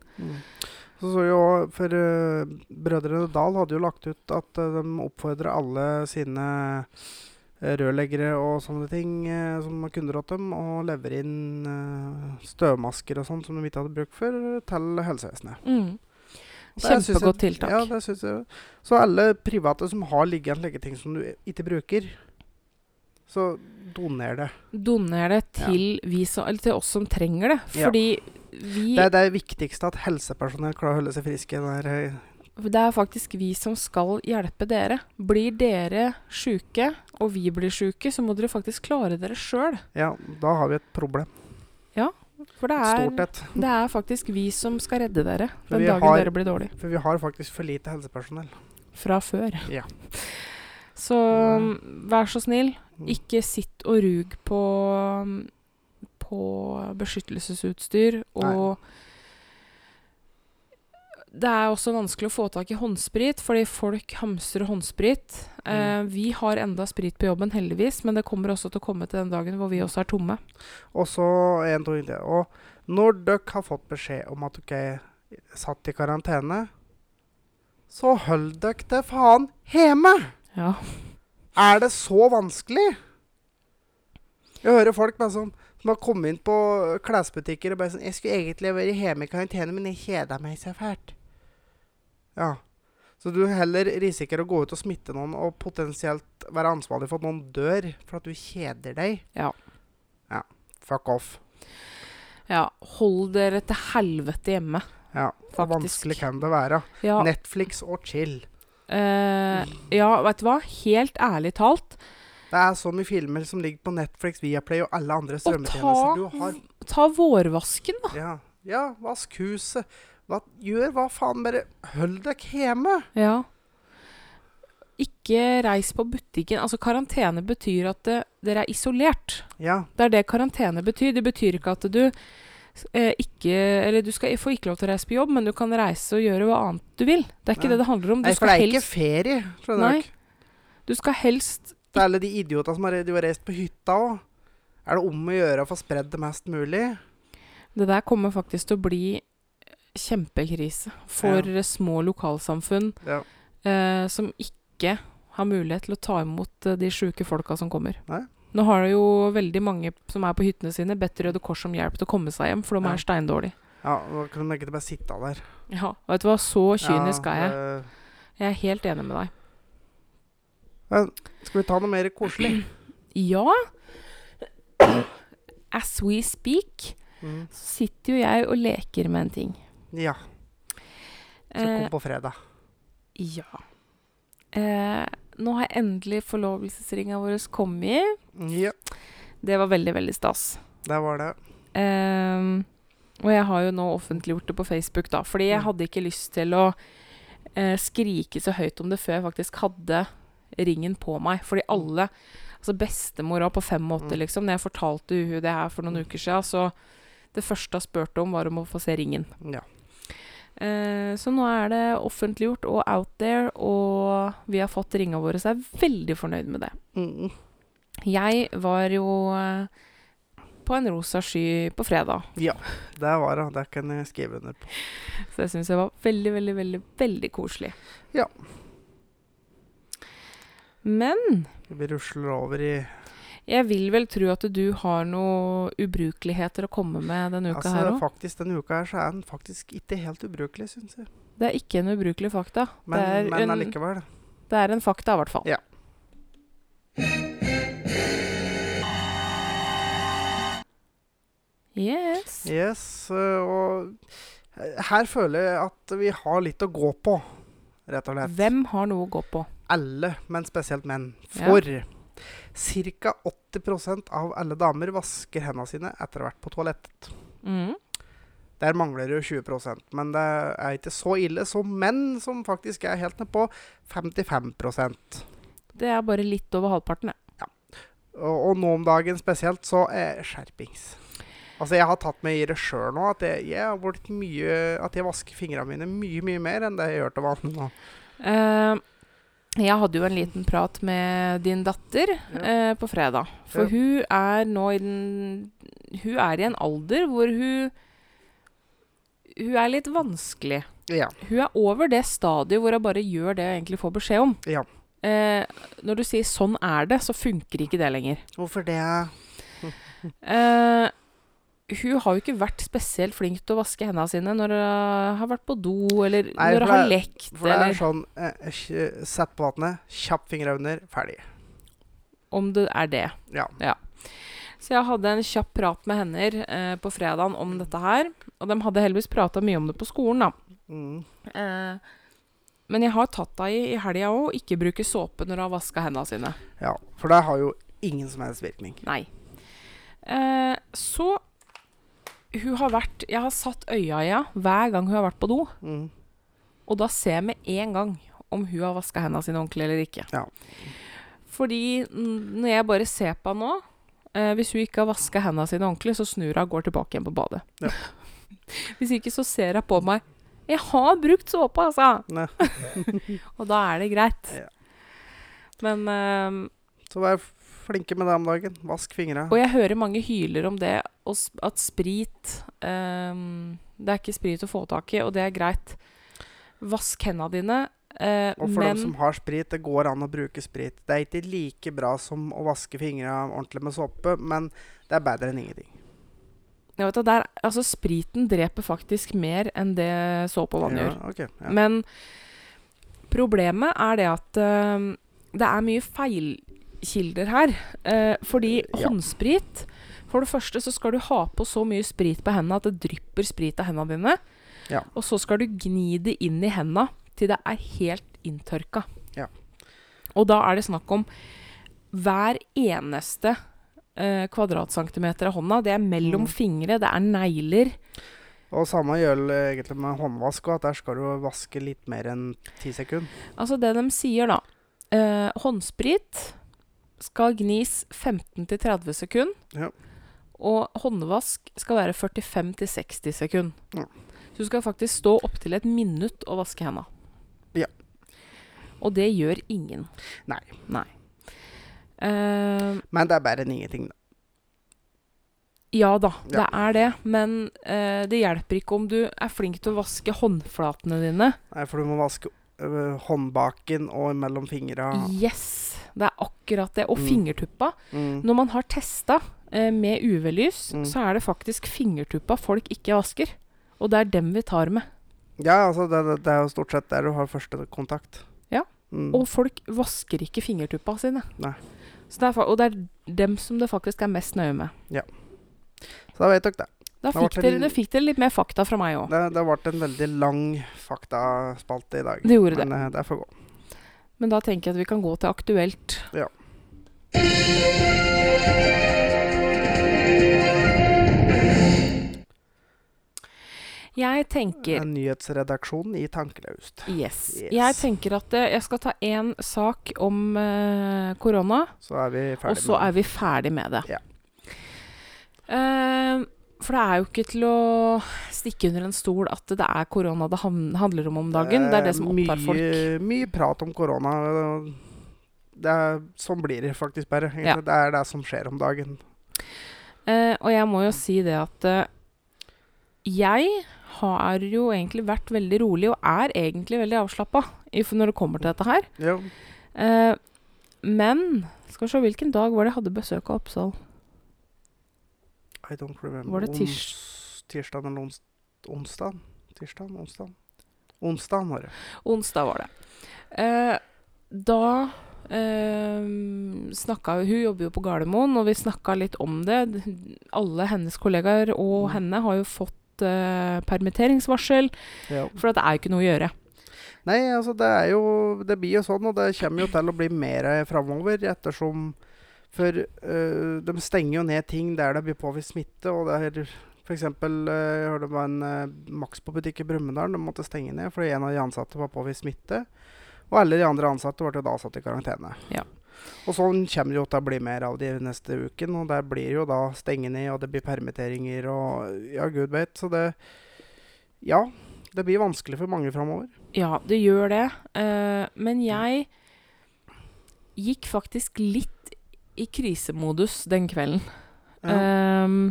[SPEAKER 1] Så så jo, for eh, Brødrene Dal hadde jo lagt ut at eh, de oppfordrer alle sine eh, rørleggere og sånne ting eh, som er kunder åt dem, å levere inn eh, støvmasker og sånt som de ikke hadde bruk for, til helsevesenet.
[SPEAKER 2] Mm.
[SPEAKER 1] Og det synes jeg-
[SPEAKER 2] Kjempegodt tiltak.
[SPEAKER 1] Ja, det synes jeg. Så alle private som har liggende slike ting som du ikke bruker, så doner det.
[SPEAKER 2] Doner det
[SPEAKER 1] Ja.
[SPEAKER 2] til, vi som, eller til oss som trenger det.
[SPEAKER 1] Ja.
[SPEAKER 2] Fordi vi
[SPEAKER 1] Det er det viktigste at helsepersonell klarer å holde seg friske. Der, eh,
[SPEAKER 2] Det er faktisk vi som skal hjelpe dere. Blir dere sjuke, og vi blir sjuke, så må dere faktisk klare dere sjøl.
[SPEAKER 1] ja, da har vi et problem.
[SPEAKER 2] For det
[SPEAKER 1] Et stort
[SPEAKER 2] er,
[SPEAKER 1] et.
[SPEAKER 2] det er faktisk vi som skal redde dere
[SPEAKER 1] For
[SPEAKER 2] den
[SPEAKER 1] vi
[SPEAKER 2] dagen
[SPEAKER 1] har-
[SPEAKER 2] dere blir dårlig.
[SPEAKER 1] For vi har faktisk for lite helsepersonell.
[SPEAKER 2] Fra før.
[SPEAKER 1] Ja.
[SPEAKER 2] Så um, vær så snill,
[SPEAKER 1] Mm.
[SPEAKER 2] ikke sitt og rug på, um, på beskyttelsesutstyr og Det er også vanskelig å få tak i håndsprit, fordi folk hamstrer håndsprit.
[SPEAKER 1] Mm.
[SPEAKER 2] Eh, vi har enda sprit på jobben, heldigvis, men det kommer også til å komme til den dagen hvor vi
[SPEAKER 1] Mm.
[SPEAKER 2] også er tomme.
[SPEAKER 1] Og så en, to, en til. Og når dere har fått beskjed om at dere er satt i karantene, så hold dere det faen hjemme!
[SPEAKER 2] Ja.
[SPEAKER 1] Er det så vanskelig? Jeg hører folk bare sånn, som har kommet inn på klesbutikker og bare sånn 'Jeg skulle egentlig vært hjemme i karantene, men jeg kjeda meg så fælt'. Ja. Så du heller risikerer å gå ut og smitte noen og potensielt være ansvarlig for at noen dør for at du kjeder deg.
[SPEAKER 2] Ja.
[SPEAKER 1] Ja. Fuck off.
[SPEAKER 2] ja. Hold dere til helvete hjemme,
[SPEAKER 1] Ja. Hvor
[SPEAKER 2] faktisk.
[SPEAKER 1] vanskelig kan det være?
[SPEAKER 2] Ja,
[SPEAKER 1] Netflix og chill.
[SPEAKER 2] eh, ja veit du hva? Helt ærlig talt.
[SPEAKER 1] Det er så mye filmer som ligger på Netflix, Viaplay og alle andre
[SPEAKER 2] ta-
[SPEAKER 1] strømmetjenester du har.
[SPEAKER 2] Ta vårvasken, da.
[SPEAKER 1] Ja, ja vask huset. Hva, gjør hva faen, bare hold dere hjemme.
[SPEAKER 2] Ja. Ikke reis på butikken. Altså, karantene betyr at eh, dere er isolert.
[SPEAKER 1] Ja,
[SPEAKER 2] Det er det karantene betyr. Det betyr ikke at du eh, ikke Eller du skal får ikke lov til å reise på jobb, men du kan reise og gjøre hva annet du vil. Det er ikke
[SPEAKER 1] Nei.
[SPEAKER 2] det det handler om. Du
[SPEAKER 1] Nei, for
[SPEAKER 2] skal,
[SPEAKER 1] det er ikke
[SPEAKER 2] helst,
[SPEAKER 1] ferie, skjønner
[SPEAKER 2] Nei.
[SPEAKER 1] du. ikke?
[SPEAKER 2] du skal helst
[SPEAKER 1] Det er alle de idiotene som har, de har reist på hytta òg. Er det om å gjøre å få spredd det mest mulig?
[SPEAKER 2] Det der kommer faktisk til å bli kjempekrise for eh, små lokalsamfunn
[SPEAKER 1] Ja.
[SPEAKER 2] eh, som ikke har mulighet til å ta imot eh, de sjuke folka som kommer.
[SPEAKER 1] Nei.
[SPEAKER 2] Nå har det jo veldig mange som er på hyttene sine, bedt Røde Kors om hjelp til å komme seg hjem, for de
[SPEAKER 1] Ja.
[SPEAKER 2] er steindårlige.
[SPEAKER 1] Ja, nå kan de ikke bare sitte der. eh,
[SPEAKER 2] Ja, vet du hva, så kynisk er jeg.
[SPEAKER 1] det-
[SPEAKER 2] Jeg er helt enig med deg.
[SPEAKER 1] Men skal vi ta noe mer koselig?
[SPEAKER 2] Ja. As we speak,
[SPEAKER 1] Mm.
[SPEAKER 2] så sitter jo jeg og leker med en ting.
[SPEAKER 1] Ja. Så
[SPEAKER 2] Eh,
[SPEAKER 1] kom på fredag.
[SPEAKER 2] ja. Eh, nå har endelig forlovelsesringa vår kommet.
[SPEAKER 1] Ja,
[SPEAKER 2] Det var veldig, veldig stas.
[SPEAKER 1] der var det.
[SPEAKER 2] Eh, og jeg har jo nå offentliggjort det på Facebook, da. Fordi jeg
[SPEAKER 1] Mm.
[SPEAKER 2] hadde ikke lyst til å eh, skrike så høyt om det før jeg faktisk hadde ringen på meg. Fordi alle Altså bestemora på 85,
[SPEAKER 1] Mm.
[SPEAKER 2] liksom. Når jeg fortalte hun det her for noen uker siden, så Det første hun spurte om, var om å få se ringen.
[SPEAKER 1] Ja.
[SPEAKER 2] Eh, så nå er det offentliggjort og out there, og vi har fått ringa våre, så jeg er veldig fornøyd med det.
[SPEAKER 1] Mm.
[SPEAKER 2] Jeg var jo eh, på en rosa sky på fredag,
[SPEAKER 1] Der var det. Der kan jeg skrive under på.
[SPEAKER 2] så det syns jeg var veldig, veldig, veldig, veldig koselig.
[SPEAKER 1] Ja.
[SPEAKER 2] Men
[SPEAKER 1] Vi rusler over i
[SPEAKER 2] jeg vil vel tro at du har noen ubrukeligheter å komme med denne uka her
[SPEAKER 1] Altså,
[SPEAKER 2] òg.
[SPEAKER 1] faktisk, Denne uka her så er den faktisk ikke helt ubrukelig, syns jeg.
[SPEAKER 2] Det er ikke en ubrukelig fakta. det,
[SPEAKER 1] Men,
[SPEAKER 2] er
[SPEAKER 1] men
[SPEAKER 2] en,
[SPEAKER 1] allikevel.
[SPEAKER 2] det er en fakta, i hvert fall.
[SPEAKER 1] Ja.
[SPEAKER 2] Yes.
[SPEAKER 1] Yes, øh, og her føler jeg at vi har litt å gå på, rett og slett.
[SPEAKER 2] Hvem har noe å gå på?
[SPEAKER 1] Alle, men spesielt menn.
[SPEAKER 2] Ja.
[SPEAKER 1] For ca. 80 av alle damer vasker hendene sine etter å ha vært på toalettet.
[SPEAKER 2] Mm.
[SPEAKER 1] Der mangler det jo 20 men det er ikke så ille som menn, som faktisk er helt ned på 55 og,
[SPEAKER 2] Det er bare litt over halvparten, jeg.
[SPEAKER 1] og nå om dagen spesielt, så er skjerpings. Altså, jeg har tatt meg i det sjøl nå, at jeg, jeg har blitt mye At jeg vasker fingrene mine mye, mye mer enn det jeg gjør til vanlig nå.
[SPEAKER 2] Eh, jeg hadde jo en liten prat med din datter
[SPEAKER 1] Ja.
[SPEAKER 2] eh, på fredag. For
[SPEAKER 1] Ja.
[SPEAKER 2] hun er nå i den Hun er i en alder hvor hun Hun er litt vanskelig.
[SPEAKER 1] Ja.
[SPEAKER 2] Hun er over det stadiet hvor hun bare gjør det hun egentlig får beskjed om.
[SPEAKER 1] Ja.
[SPEAKER 2] Eh, når du sier 'sånn er det', så funker ikke det lenger.
[SPEAKER 1] Hvorfor det?
[SPEAKER 2] Eh, hun har jo ikke vært spesielt flink til å vaske hendene sine når hun har vært på do, eller
[SPEAKER 1] Nei,
[SPEAKER 2] når
[SPEAKER 1] for
[SPEAKER 2] hun
[SPEAKER 1] det
[SPEAKER 2] har lekt,
[SPEAKER 1] For det er
[SPEAKER 2] eller
[SPEAKER 1] sånn eh, kj- Sett på vannet, kjapp fingra under, ferdig.
[SPEAKER 2] om det er det.
[SPEAKER 1] Ja.
[SPEAKER 2] Så jeg hadde en kjapp prat med henne eh, på fredagen om dette her. Og de hadde heldigvis prata mye om det på skolen, da.
[SPEAKER 1] Mm.
[SPEAKER 2] Eh, men jeg har tatt henne i, i helga òg, ikke bruke såpe når hun har vaska hendene sine.
[SPEAKER 1] ja. For det har jo ingen som helst virkning.
[SPEAKER 2] Nei. Eh, så hun har vært Jeg har satt øya i henne hver gang hun har vært på do.
[SPEAKER 1] Mm.
[SPEAKER 2] Og da ser jeg med en gang om hun har vaska hendene sine ordentlig eller ikke.
[SPEAKER 1] Ja.
[SPEAKER 2] Fordi n- når jeg bare ser på henne nå eh, Hvis hun ikke har vaska hendene sine ordentlig, så snur hun og går tilbake igjen på badet.
[SPEAKER 1] Ja.
[SPEAKER 2] hvis ikke, så ser hun på meg Jeg har brukt såpe, altså!
[SPEAKER 1] Nei.
[SPEAKER 2] Og da er det greit.
[SPEAKER 1] Ja.
[SPEAKER 2] Men eh,
[SPEAKER 1] Så vær flinke med det om dagen. Vask fingra.
[SPEAKER 2] Og jeg hører mange hyler om det, og s- at sprit ehm, Det er ikke sprit å få tak i, og det er greit. Vask hendene dine, eh,
[SPEAKER 1] Og for
[SPEAKER 2] men
[SPEAKER 1] dem som har sprit, det går an å bruke sprit. Det er ikke like bra som å vaske fingra ordentlig med såpe, men det er bedre enn ingenting.
[SPEAKER 2] Jeg vet, at der, altså, spriten dreper faktisk mer enn det såpe og vann gjør.
[SPEAKER 1] Ja, ok, ja.
[SPEAKER 2] Men problemet er det at eh, det er mye feilkilder her. eh, fordi
[SPEAKER 1] Ja.
[SPEAKER 2] håndsprit For det første så skal du ha på så mye sprit på hendene at det drypper sprit av hendene dine.
[SPEAKER 1] Ja.
[SPEAKER 2] Og så skal du gni det inn i hendene til det er helt inntørka.
[SPEAKER 1] Ja.
[SPEAKER 2] Og da er det snakk om hver eneste eh, kvadratcentimeter av hånda. Det er mellom
[SPEAKER 1] Mm.
[SPEAKER 2] fingre, det er negler.
[SPEAKER 1] Og samme gjør det egentlig med håndvask òg, at der skal du vaske litt mer enn ti sekunder.
[SPEAKER 2] Altså det de sier da eh, Håndsprit skal gnis 15-30 sekunder
[SPEAKER 1] Ja.
[SPEAKER 2] Og håndvask skal være 45-60 sekunder.
[SPEAKER 1] Ja.
[SPEAKER 2] Så du skal faktisk stå opptil et minutt og vaske henda.
[SPEAKER 1] Ja.
[SPEAKER 2] Og det gjør ingen.
[SPEAKER 1] Nei.
[SPEAKER 2] Nei. Eh,
[SPEAKER 1] Men det er bedre enn ingenting, da.
[SPEAKER 2] ja da, det
[SPEAKER 1] Ja.
[SPEAKER 2] er det. Men eh, det hjelper ikke om du er flink til å vaske håndflatene dine.
[SPEAKER 1] Nei, for du må vaske øh, håndbaken og mellom fingra.
[SPEAKER 2] Yes! Det er akkurat det. Og
[SPEAKER 1] Ah. Mm.
[SPEAKER 2] fingertuppa.
[SPEAKER 1] Mm.
[SPEAKER 2] Når man har testa eh, med UV-lys,
[SPEAKER 1] Mm.
[SPEAKER 2] så er det faktisk fingertuppa folk ikke vasker. Og det er dem vi tar med.
[SPEAKER 1] Ja, altså, det, det- det er jo stort sett der du har første kontakt.
[SPEAKER 2] Ja.
[SPEAKER 1] Mm.
[SPEAKER 2] Og folk vasker ikke fingertuppa sine.
[SPEAKER 1] Nei.
[SPEAKER 2] Så det er, fa- og det er dem som det faktisk er mest nøye med.
[SPEAKER 1] Så da vet dere det.
[SPEAKER 2] Da
[SPEAKER 1] Da ble
[SPEAKER 2] fikk
[SPEAKER 1] det
[SPEAKER 2] dere,
[SPEAKER 1] en-
[SPEAKER 2] det fikk dere litt mer fakta fra meg òg.
[SPEAKER 1] Det, det ble en veldig lang faktaspalte i dag.
[SPEAKER 2] Det gjorde
[SPEAKER 1] Men eh, det får gå.
[SPEAKER 2] Men da tenker jeg at vi kan gå til aktuelt.
[SPEAKER 1] Ja.
[SPEAKER 2] Jeg tenker
[SPEAKER 1] En nyhetsredaksjon i tankelaust.
[SPEAKER 2] Yes.
[SPEAKER 1] Yes.
[SPEAKER 2] Jeg tenker at eh, jeg skal ta én sak om eh, korona,
[SPEAKER 1] Så er vi
[SPEAKER 2] og
[SPEAKER 1] ferdig
[SPEAKER 2] så er vi ferdig med det.
[SPEAKER 1] Ja.
[SPEAKER 2] Eh, for det er jo ikke til å stikke under en stol at det er korona det han- handler om om dagen. Det er det som opptar folk.
[SPEAKER 1] Eh, Mye, mye prat om korona. og Det er, sånn blir det faktisk bare. egentlig.
[SPEAKER 2] Ja.
[SPEAKER 1] Det er det som skjer om dagen.
[SPEAKER 2] Eh, og jeg må jo si det at eh, jeg har jo egentlig vært veldig rolig, og er egentlig veldig avslappa i- når det kommer til dette her.
[SPEAKER 1] Jo.
[SPEAKER 2] Eh, men skal vi se hvilken dag var det jeg hadde besøk av Oppsal.
[SPEAKER 1] I don't remember.
[SPEAKER 2] Var det tirs-
[SPEAKER 1] Ons, tirsdag eller ons, onsdag? Tirsdag? Onsdag? Onsdag var det.
[SPEAKER 2] Onsdag var det. Eh, da eh, snakka jo- Hun jobber jo på Gardermoen, og vi snakka litt om det. D- Alle hennes kollegaer og
[SPEAKER 1] Mm.
[SPEAKER 2] henne har jo fått eh, permitteringsvarsel,
[SPEAKER 1] Ja.
[SPEAKER 2] for at det er jo ikke noe å gjøre.
[SPEAKER 1] Nei, altså det er jo Det blir jo sånn, og det kommer jo til å bli mer framover ettersom For øh, de stenger jo ned ting der det blir påvist smitte, og det er F.eks. jeg hørte det var en øh, Max på butikk i Brumunddal. De måtte stenge ned fordi en av de ansatte var påvist smitte. Og alle de andre ansatte ble jo da satt i karantene.
[SPEAKER 2] Ja.
[SPEAKER 1] Og sånn kommer det jo til å bli mer av de neste uken. Og der blir det jo da stenge ned, og det blir permitteringer og ja, gud vet. Så det Ja, det blir vanskelig for mange framover.
[SPEAKER 2] Ja, det gjør det. Eh, men jeg gikk faktisk litt i krisemodus den kvelden.
[SPEAKER 1] Ja.
[SPEAKER 2] Ehm,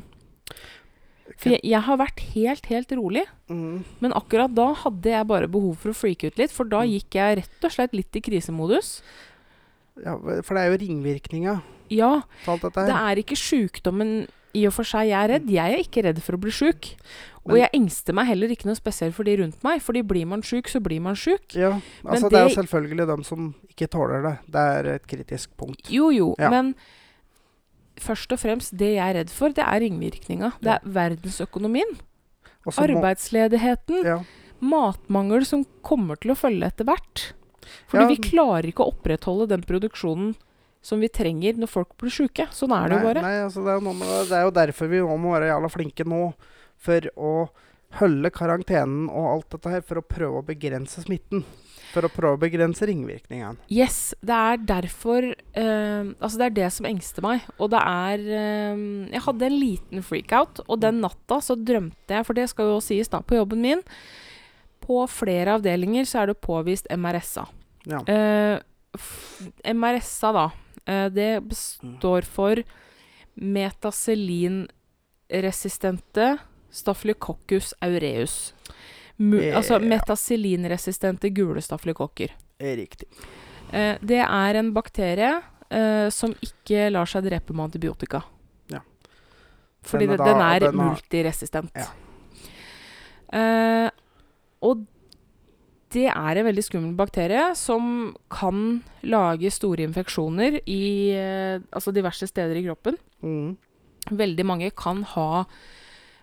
[SPEAKER 2] for jeg, jeg har vært helt, helt rolig.
[SPEAKER 1] Mm.
[SPEAKER 2] Men akkurat da hadde jeg bare behov for å freake ut litt, for da
[SPEAKER 1] Mm.
[SPEAKER 2] gikk jeg rett og slett litt i krisemodus.
[SPEAKER 1] Ja, for det er jo ringvirkninga
[SPEAKER 2] Ja,
[SPEAKER 1] til alt dette her.
[SPEAKER 2] det er ikke sjukdommen i og for seg jeg er redd. Jeg er ikke redd for å bli sjuk. Og
[SPEAKER 1] Men-
[SPEAKER 2] jeg engster meg heller ikke noe spesielt for de rundt meg, fordi blir man sjuk, så blir man sjuk.
[SPEAKER 1] ja, altså
[SPEAKER 2] Men
[SPEAKER 1] det er
[SPEAKER 2] det-
[SPEAKER 1] jo selvfølgelig dem som ikke tåler det. Det er et kritisk punkt.
[SPEAKER 2] Jo jo,
[SPEAKER 1] Ja.
[SPEAKER 2] men først og fremst det jeg er redd for, det er ringvirkninga. Det er verdensøkonomien,
[SPEAKER 1] Og så må-
[SPEAKER 2] arbeidsledigheten,
[SPEAKER 1] Ja,
[SPEAKER 2] matmangel som kommer til å følge etter hvert. Fordi
[SPEAKER 1] Ja.
[SPEAKER 2] vi klarer ikke å opprettholde den produksjonen som vi trenger når folk blir sjuke. Sånn er det jo
[SPEAKER 1] nei,
[SPEAKER 2] bare.
[SPEAKER 1] Nei, altså det, er noe med, det. det er jo derfor vi nå må være jævla flinke nå for å holde karantenen og alt dette her, for å prøve å begrense smitten. For å prøve å begrense ringvirkningene.
[SPEAKER 2] Yes, det er derfor eh, Altså, det er det som engster meg. Og det er eh, Jeg hadde en liten freakout, og den natta så drømte jeg, for det skal jo sies da, på jobben min På flere avdelinger så er det påvist MRSA.
[SPEAKER 1] Ja.
[SPEAKER 2] Eh, f- MRSA, da, eh, det består for metaselinresistente stafylococcus aureus. Mu
[SPEAKER 1] Eh,
[SPEAKER 2] altså
[SPEAKER 1] ja.
[SPEAKER 2] metaselinresistente gule stafylokokker.
[SPEAKER 1] Eh, Riktig.
[SPEAKER 2] Eh, det er en bakterie eh, som ikke lar seg drepe med antibiotika.
[SPEAKER 1] Ja.
[SPEAKER 2] Fordi
[SPEAKER 1] Den er
[SPEAKER 2] den, den
[SPEAKER 1] da-
[SPEAKER 2] er
[SPEAKER 1] den har-
[SPEAKER 2] multiresistent.
[SPEAKER 1] Ja.
[SPEAKER 2] Eh, og det er en veldig skummel bakterie som kan lage store infeksjoner i eh, altså diverse steder i kroppen.
[SPEAKER 1] Mm.
[SPEAKER 2] Veldig mange kan ha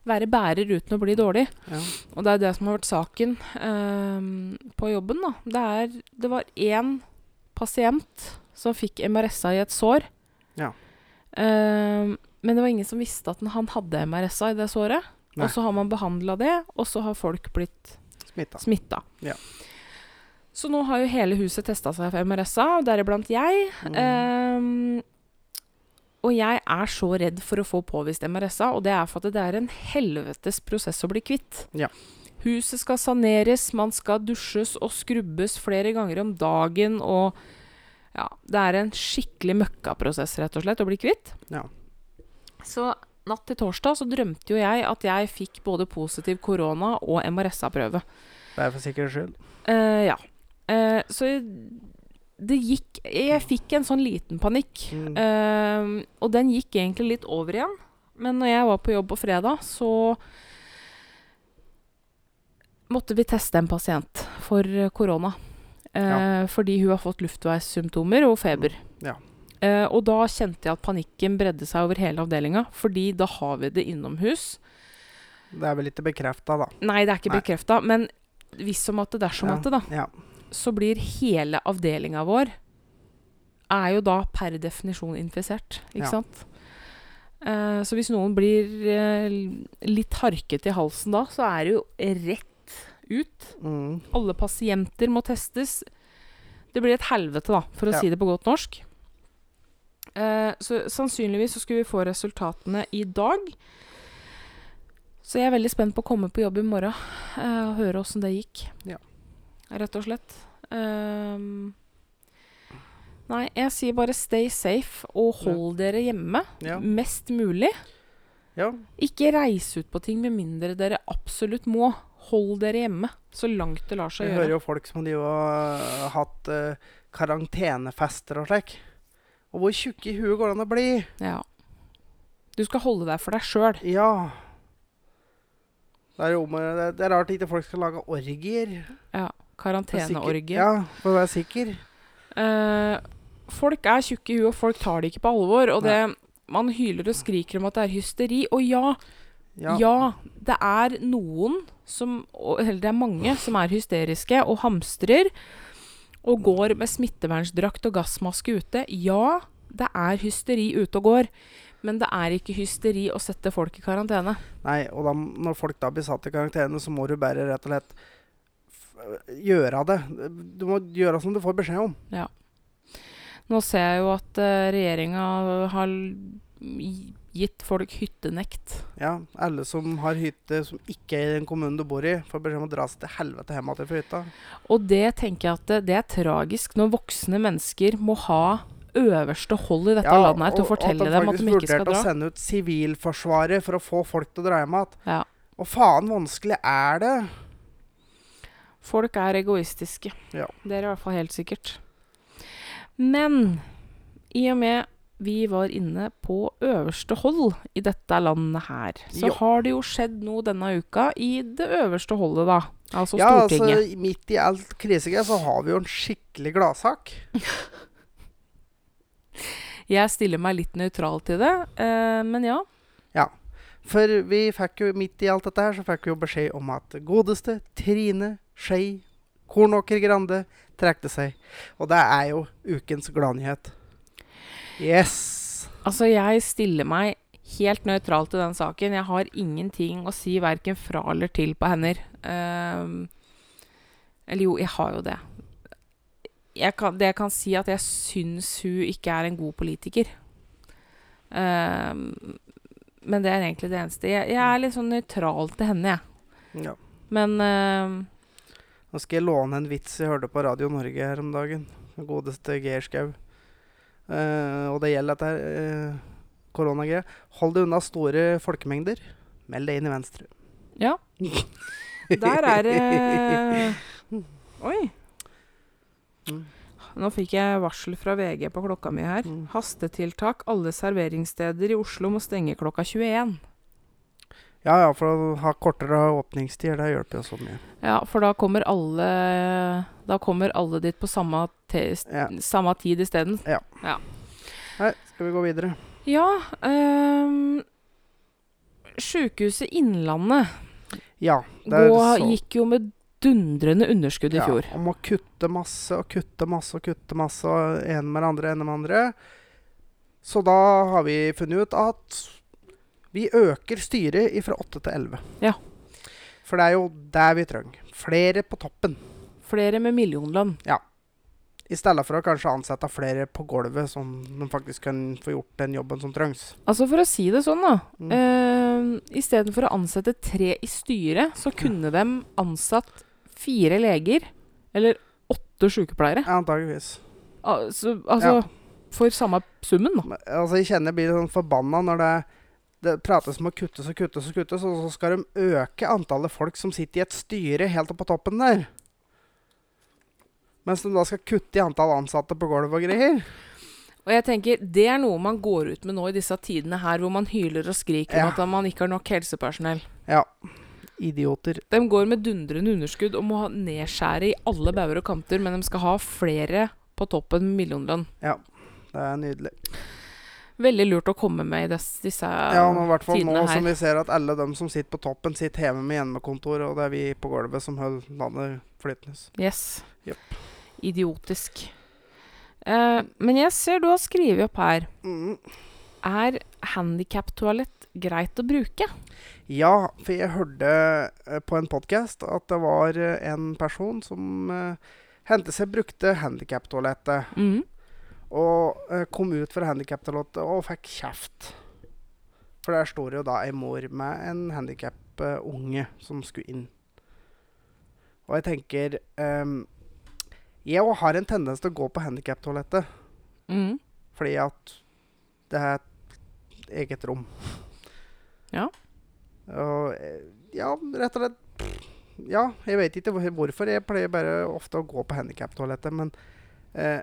[SPEAKER 2] være bærer uten å bli dårlig.
[SPEAKER 1] Ja.
[SPEAKER 2] Og det er det som har vært saken ehm, på jobben, da. Det, er, det var én pasient som fikk MRSA i et sår.
[SPEAKER 1] Ja.
[SPEAKER 2] Ehm, men det var ingen som visste at den- han hadde MRSA i det såret.
[SPEAKER 1] Nei.
[SPEAKER 2] Og så har man behandla det, og så har folk blitt
[SPEAKER 1] Smitta.
[SPEAKER 2] smitta.
[SPEAKER 1] Ja.
[SPEAKER 2] Så nå har jo Eh, hele huset testa seg for MRSA, og deriblant jeg.
[SPEAKER 1] Mm.
[SPEAKER 2] Ehm, Og jeg er så redd for å få påvist MRSA, og det er for at det er en helvetes prosess å bli kvitt.
[SPEAKER 1] Ja.
[SPEAKER 2] Huset skal saneres, man skal dusjes og skrubbes flere ganger om dagen, og ja, det er en skikkelig møkkaprosess, rett og slett, å bli kvitt.
[SPEAKER 1] Ja.
[SPEAKER 2] Så natt til torsdag så drømte jo jeg at jeg fikk både positiv korona og MRSA-prøve.
[SPEAKER 1] Det er for sikkerhets skyld.
[SPEAKER 2] Eh, ja. Eh, så det gikk Jeg fikk en sånn liten panikk.
[SPEAKER 1] Mm.
[SPEAKER 2] Eh, og den gikk egentlig litt over igjen. Men når jeg var på jobb på fredag, så måtte vi teste en pasient for eh, korona. Eh, Fordi hun har fått luftveissymptomer og feber.
[SPEAKER 1] Mm, Ja.
[SPEAKER 2] Eh, og da kjente jeg at panikken bredde seg over hele avdelinga, fordi da har vi det innomhus.
[SPEAKER 1] Det er vel ikke bekrefta, da.
[SPEAKER 2] Nei, det er ikke
[SPEAKER 1] Nei.
[SPEAKER 2] bekrefta, men hvis som at det dersom
[SPEAKER 1] Ja.
[SPEAKER 2] at det, da
[SPEAKER 1] Ja.
[SPEAKER 2] så blir hele avdelinga vår er jo da per definisjon infisert,
[SPEAKER 1] Ja.
[SPEAKER 2] ikke sant? Eh, så hvis noen blir eh, litt harket i halsen da, så er det jo rett ut.
[SPEAKER 1] Mm.
[SPEAKER 2] Alle pasienter må testes. Det blir et helvete, da, for å
[SPEAKER 1] Ja.
[SPEAKER 2] si det på godt norsk. Eh, så sannsynligvis så skulle vi få resultatene i dag. Så jeg er veldig spent på å komme på jobb i morgen eh, og høre åssen det gikk.
[SPEAKER 1] Ja.
[SPEAKER 2] Rett og slett. Ehm, nei, jeg sier bare stay safe og
[SPEAKER 1] Ja.
[SPEAKER 2] hold dere hjemme
[SPEAKER 1] Ja.
[SPEAKER 2] mest mulig.
[SPEAKER 1] ja.
[SPEAKER 2] Ikke reis ut på ting med mindre dere absolutt må. Hold dere hjemme så langt det lar
[SPEAKER 1] Vi
[SPEAKER 2] seg gjøre.
[SPEAKER 1] hører jo folk som de har øh, hatt øh, karantenefester og slik. Og hvor tjukke i huet går det an å bli?
[SPEAKER 2] Ja. Du skal holde deg for deg sjøl.
[SPEAKER 1] Ja. Det er, jo om, å- det, det er rart ikke folk skal lage orgier. For sikker-
[SPEAKER 2] Karanteneorgie.
[SPEAKER 1] Ja, for å være sikker.
[SPEAKER 2] Eh, folk er tjukke i huet, og folk tar det ikke på alvor. Og det,
[SPEAKER 1] Nei.
[SPEAKER 2] man hyler og skriker om at det er hysteri. Og ja, ja,
[SPEAKER 1] Ja.
[SPEAKER 2] det er noen som og- Eller det er mange som er hysteriske og hamstrer. Og går med smittevernsdrakt og gassmaske ute. Ja, det er hysteri ute og går. Men det er ikke hysteri å sette folk i karantene.
[SPEAKER 1] Nei, og da, når folk da blir satt i karantene, så må du bare rett og slett f- gjøre det. Du må gjøre som du får beskjed om.
[SPEAKER 2] Nå ser jeg jo at eh, regjeringa har l- gi- gitt folk hyttenekt.
[SPEAKER 1] Ja, Alle som har hytte som ikke er i den kommunen du bor i, får beskjed om å dra seg til helvete hjem igjen fra hytta.
[SPEAKER 2] Og det tenker jeg at eh, det er tragisk når voksne mennesker må ha øverste hold i dette landet her til å fortelle dem
[SPEAKER 1] Og
[SPEAKER 2] at de ikke skal
[SPEAKER 1] at de faktisk vurderte å
[SPEAKER 2] dra.
[SPEAKER 1] sende ut Sivilforsvaret for å få folk til å dra hjem igjen.
[SPEAKER 2] Ja.
[SPEAKER 1] Hva faen vanskelig er det?
[SPEAKER 2] Folk er egoistiske.
[SPEAKER 1] Ja.
[SPEAKER 2] Det er i hvert fall helt sikkert. Men i og med vi var inne på øverste hold i dette landet her, så
[SPEAKER 1] Jo.
[SPEAKER 2] har det jo skjedd noe denne uka i det øverste holdet, da. Altså
[SPEAKER 1] ja,
[SPEAKER 2] Stortinget.
[SPEAKER 1] altså, midt i alt krisegreier så har vi jo en skikkelig gladsak.
[SPEAKER 2] Jeg stiller meg litt nøytral til det, eh, men ja.
[SPEAKER 1] For vi fikk jo midt i alt dette her, så fikk vi jo beskjed om at godeste Trine Skei Kornåker Grande trekte seg. Og det er jo ukens gladnyhet. Yes!
[SPEAKER 2] Altså, jeg stiller meg helt nøytral til den saken. Jeg har ingenting å si verken fra eller til på hender. Ehm, eller jo, jeg har jo det. Jeg kan, det jeg kan si, at jeg syns hun ikke er en god politiker. Ehm, men det er egentlig det eneste. Jeg, jeg er litt sånn nøytral til henne, jeg.
[SPEAKER 1] Ja.
[SPEAKER 2] Men ehm,
[SPEAKER 1] Nå skal jeg låne en vits jeg hørte på Radio Norge her om dagen. Den godeste Geir Skau. Eh, og det gjelder dette her eh, koronagreia. Hold deg unna store folkemengder. Meld deg inn i Venstre.
[SPEAKER 2] ja. Der er det Oi.
[SPEAKER 1] Mm.
[SPEAKER 2] Nå fikk jeg varsel fra VG på klokka mi her.
[SPEAKER 1] Mm.
[SPEAKER 2] Hastetiltak. Alle serveringssteder i Oslo må stenge klokka 21.
[SPEAKER 1] Ja ja, for å ha kortere åpningstider, det hjelper jo så mye.
[SPEAKER 2] Ja, for da kommer alle Da kommer alle dit på samme, te,
[SPEAKER 1] Ja.
[SPEAKER 2] samme tid isteden.
[SPEAKER 1] Nei, skal vi gå videre?
[SPEAKER 2] Ja øhm, Sjukehuset Innlandet
[SPEAKER 1] Ja.
[SPEAKER 2] gå,
[SPEAKER 1] så-
[SPEAKER 2] gikk jo med dundrende underskudd i fjor.
[SPEAKER 1] Ja, om å kutte masse og kutte masse og kutte masse, og ene med det andre, ene med det andre. Så da har vi funnet ut at vi øker styret fra 8 til 11.
[SPEAKER 2] Ja.
[SPEAKER 1] For det er jo det vi trenger. Flere på toppen.
[SPEAKER 2] Flere med millionlønn.
[SPEAKER 1] I stedet for å kanskje ansette flere på gulvet, som de faktisk kan få gjort den jobben som trengs.
[SPEAKER 2] Altså For å si det sånn, da.
[SPEAKER 1] Mm.
[SPEAKER 2] Eh, Istedenfor å ansette tre i styret, så kunne de ansatt fire leger eller åtte sykepleiere.
[SPEAKER 1] Antageligvis.
[SPEAKER 2] Altså, altså
[SPEAKER 1] Ja.
[SPEAKER 2] for samme summen, da.
[SPEAKER 1] Men, Altså, jeg kjenner jeg blir sånn forbanna når det, det prates om å kuttes og kuttes og kuttes, og så skal de øke antallet folk som sitter i et styre helt oppe på toppen der. Mens de da skal kutte i antall ansatte på gulvet og greier.
[SPEAKER 2] Og jeg tenker, Det er noe man går ut med nå i disse tidene her, hvor man hyler og skriker om
[SPEAKER 1] Ja.
[SPEAKER 2] at man ikke har nok helsepersonell.
[SPEAKER 1] Ja. Idioter.
[SPEAKER 2] De går med dundrende underskudd og må ha nedskjære i alle bauger og kanter, men de skal ha flere på toppen med millionlønn.
[SPEAKER 1] Det er nydelig.
[SPEAKER 2] Veldig lurt å komme med i dess, disse
[SPEAKER 1] Ja, men i hvert fall nå
[SPEAKER 2] tidene her.
[SPEAKER 1] som vi ser at alle de som sitter på toppen, sitter hjemme med hjemmekontor, og det er vi på gulvet som holder landet flytende.
[SPEAKER 2] Yes.
[SPEAKER 1] Japp.
[SPEAKER 2] Idiotisk. Eh, men jeg ser du har skrevet opp her
[SPEAKER 1] Mm.
[SPEAKER 2] Er handikaptoalett greit å bruke?
[SPEAKER 1] Ja, for jeg hørte eh, på en podkast at det var eh, en person som eh, hentet seg brukte handikaptoalettet,
[SPEAKER 2] Mhm.
[SPEAKER 1] og eh, kom ut fra handikaptoalettet og fikk kjeft. For der står jo da ei mor med en handikappunge som skulle inn. Og jeg tenker ehm, Jeg òg har en tendens til å gå på handikaptoalettet
[SPEAKER 2] Mhm.
[SPEAKER 1] fordi at det er et eget rom.
[SPEAKER 2] Ja.
[SPEAKER 1] Og eh, ja, rett og slett pff, Ja, jeg vet ikke hvor- hvorfor. Jeg pleier bare ofte å gå på handikaptoalettet, men eh,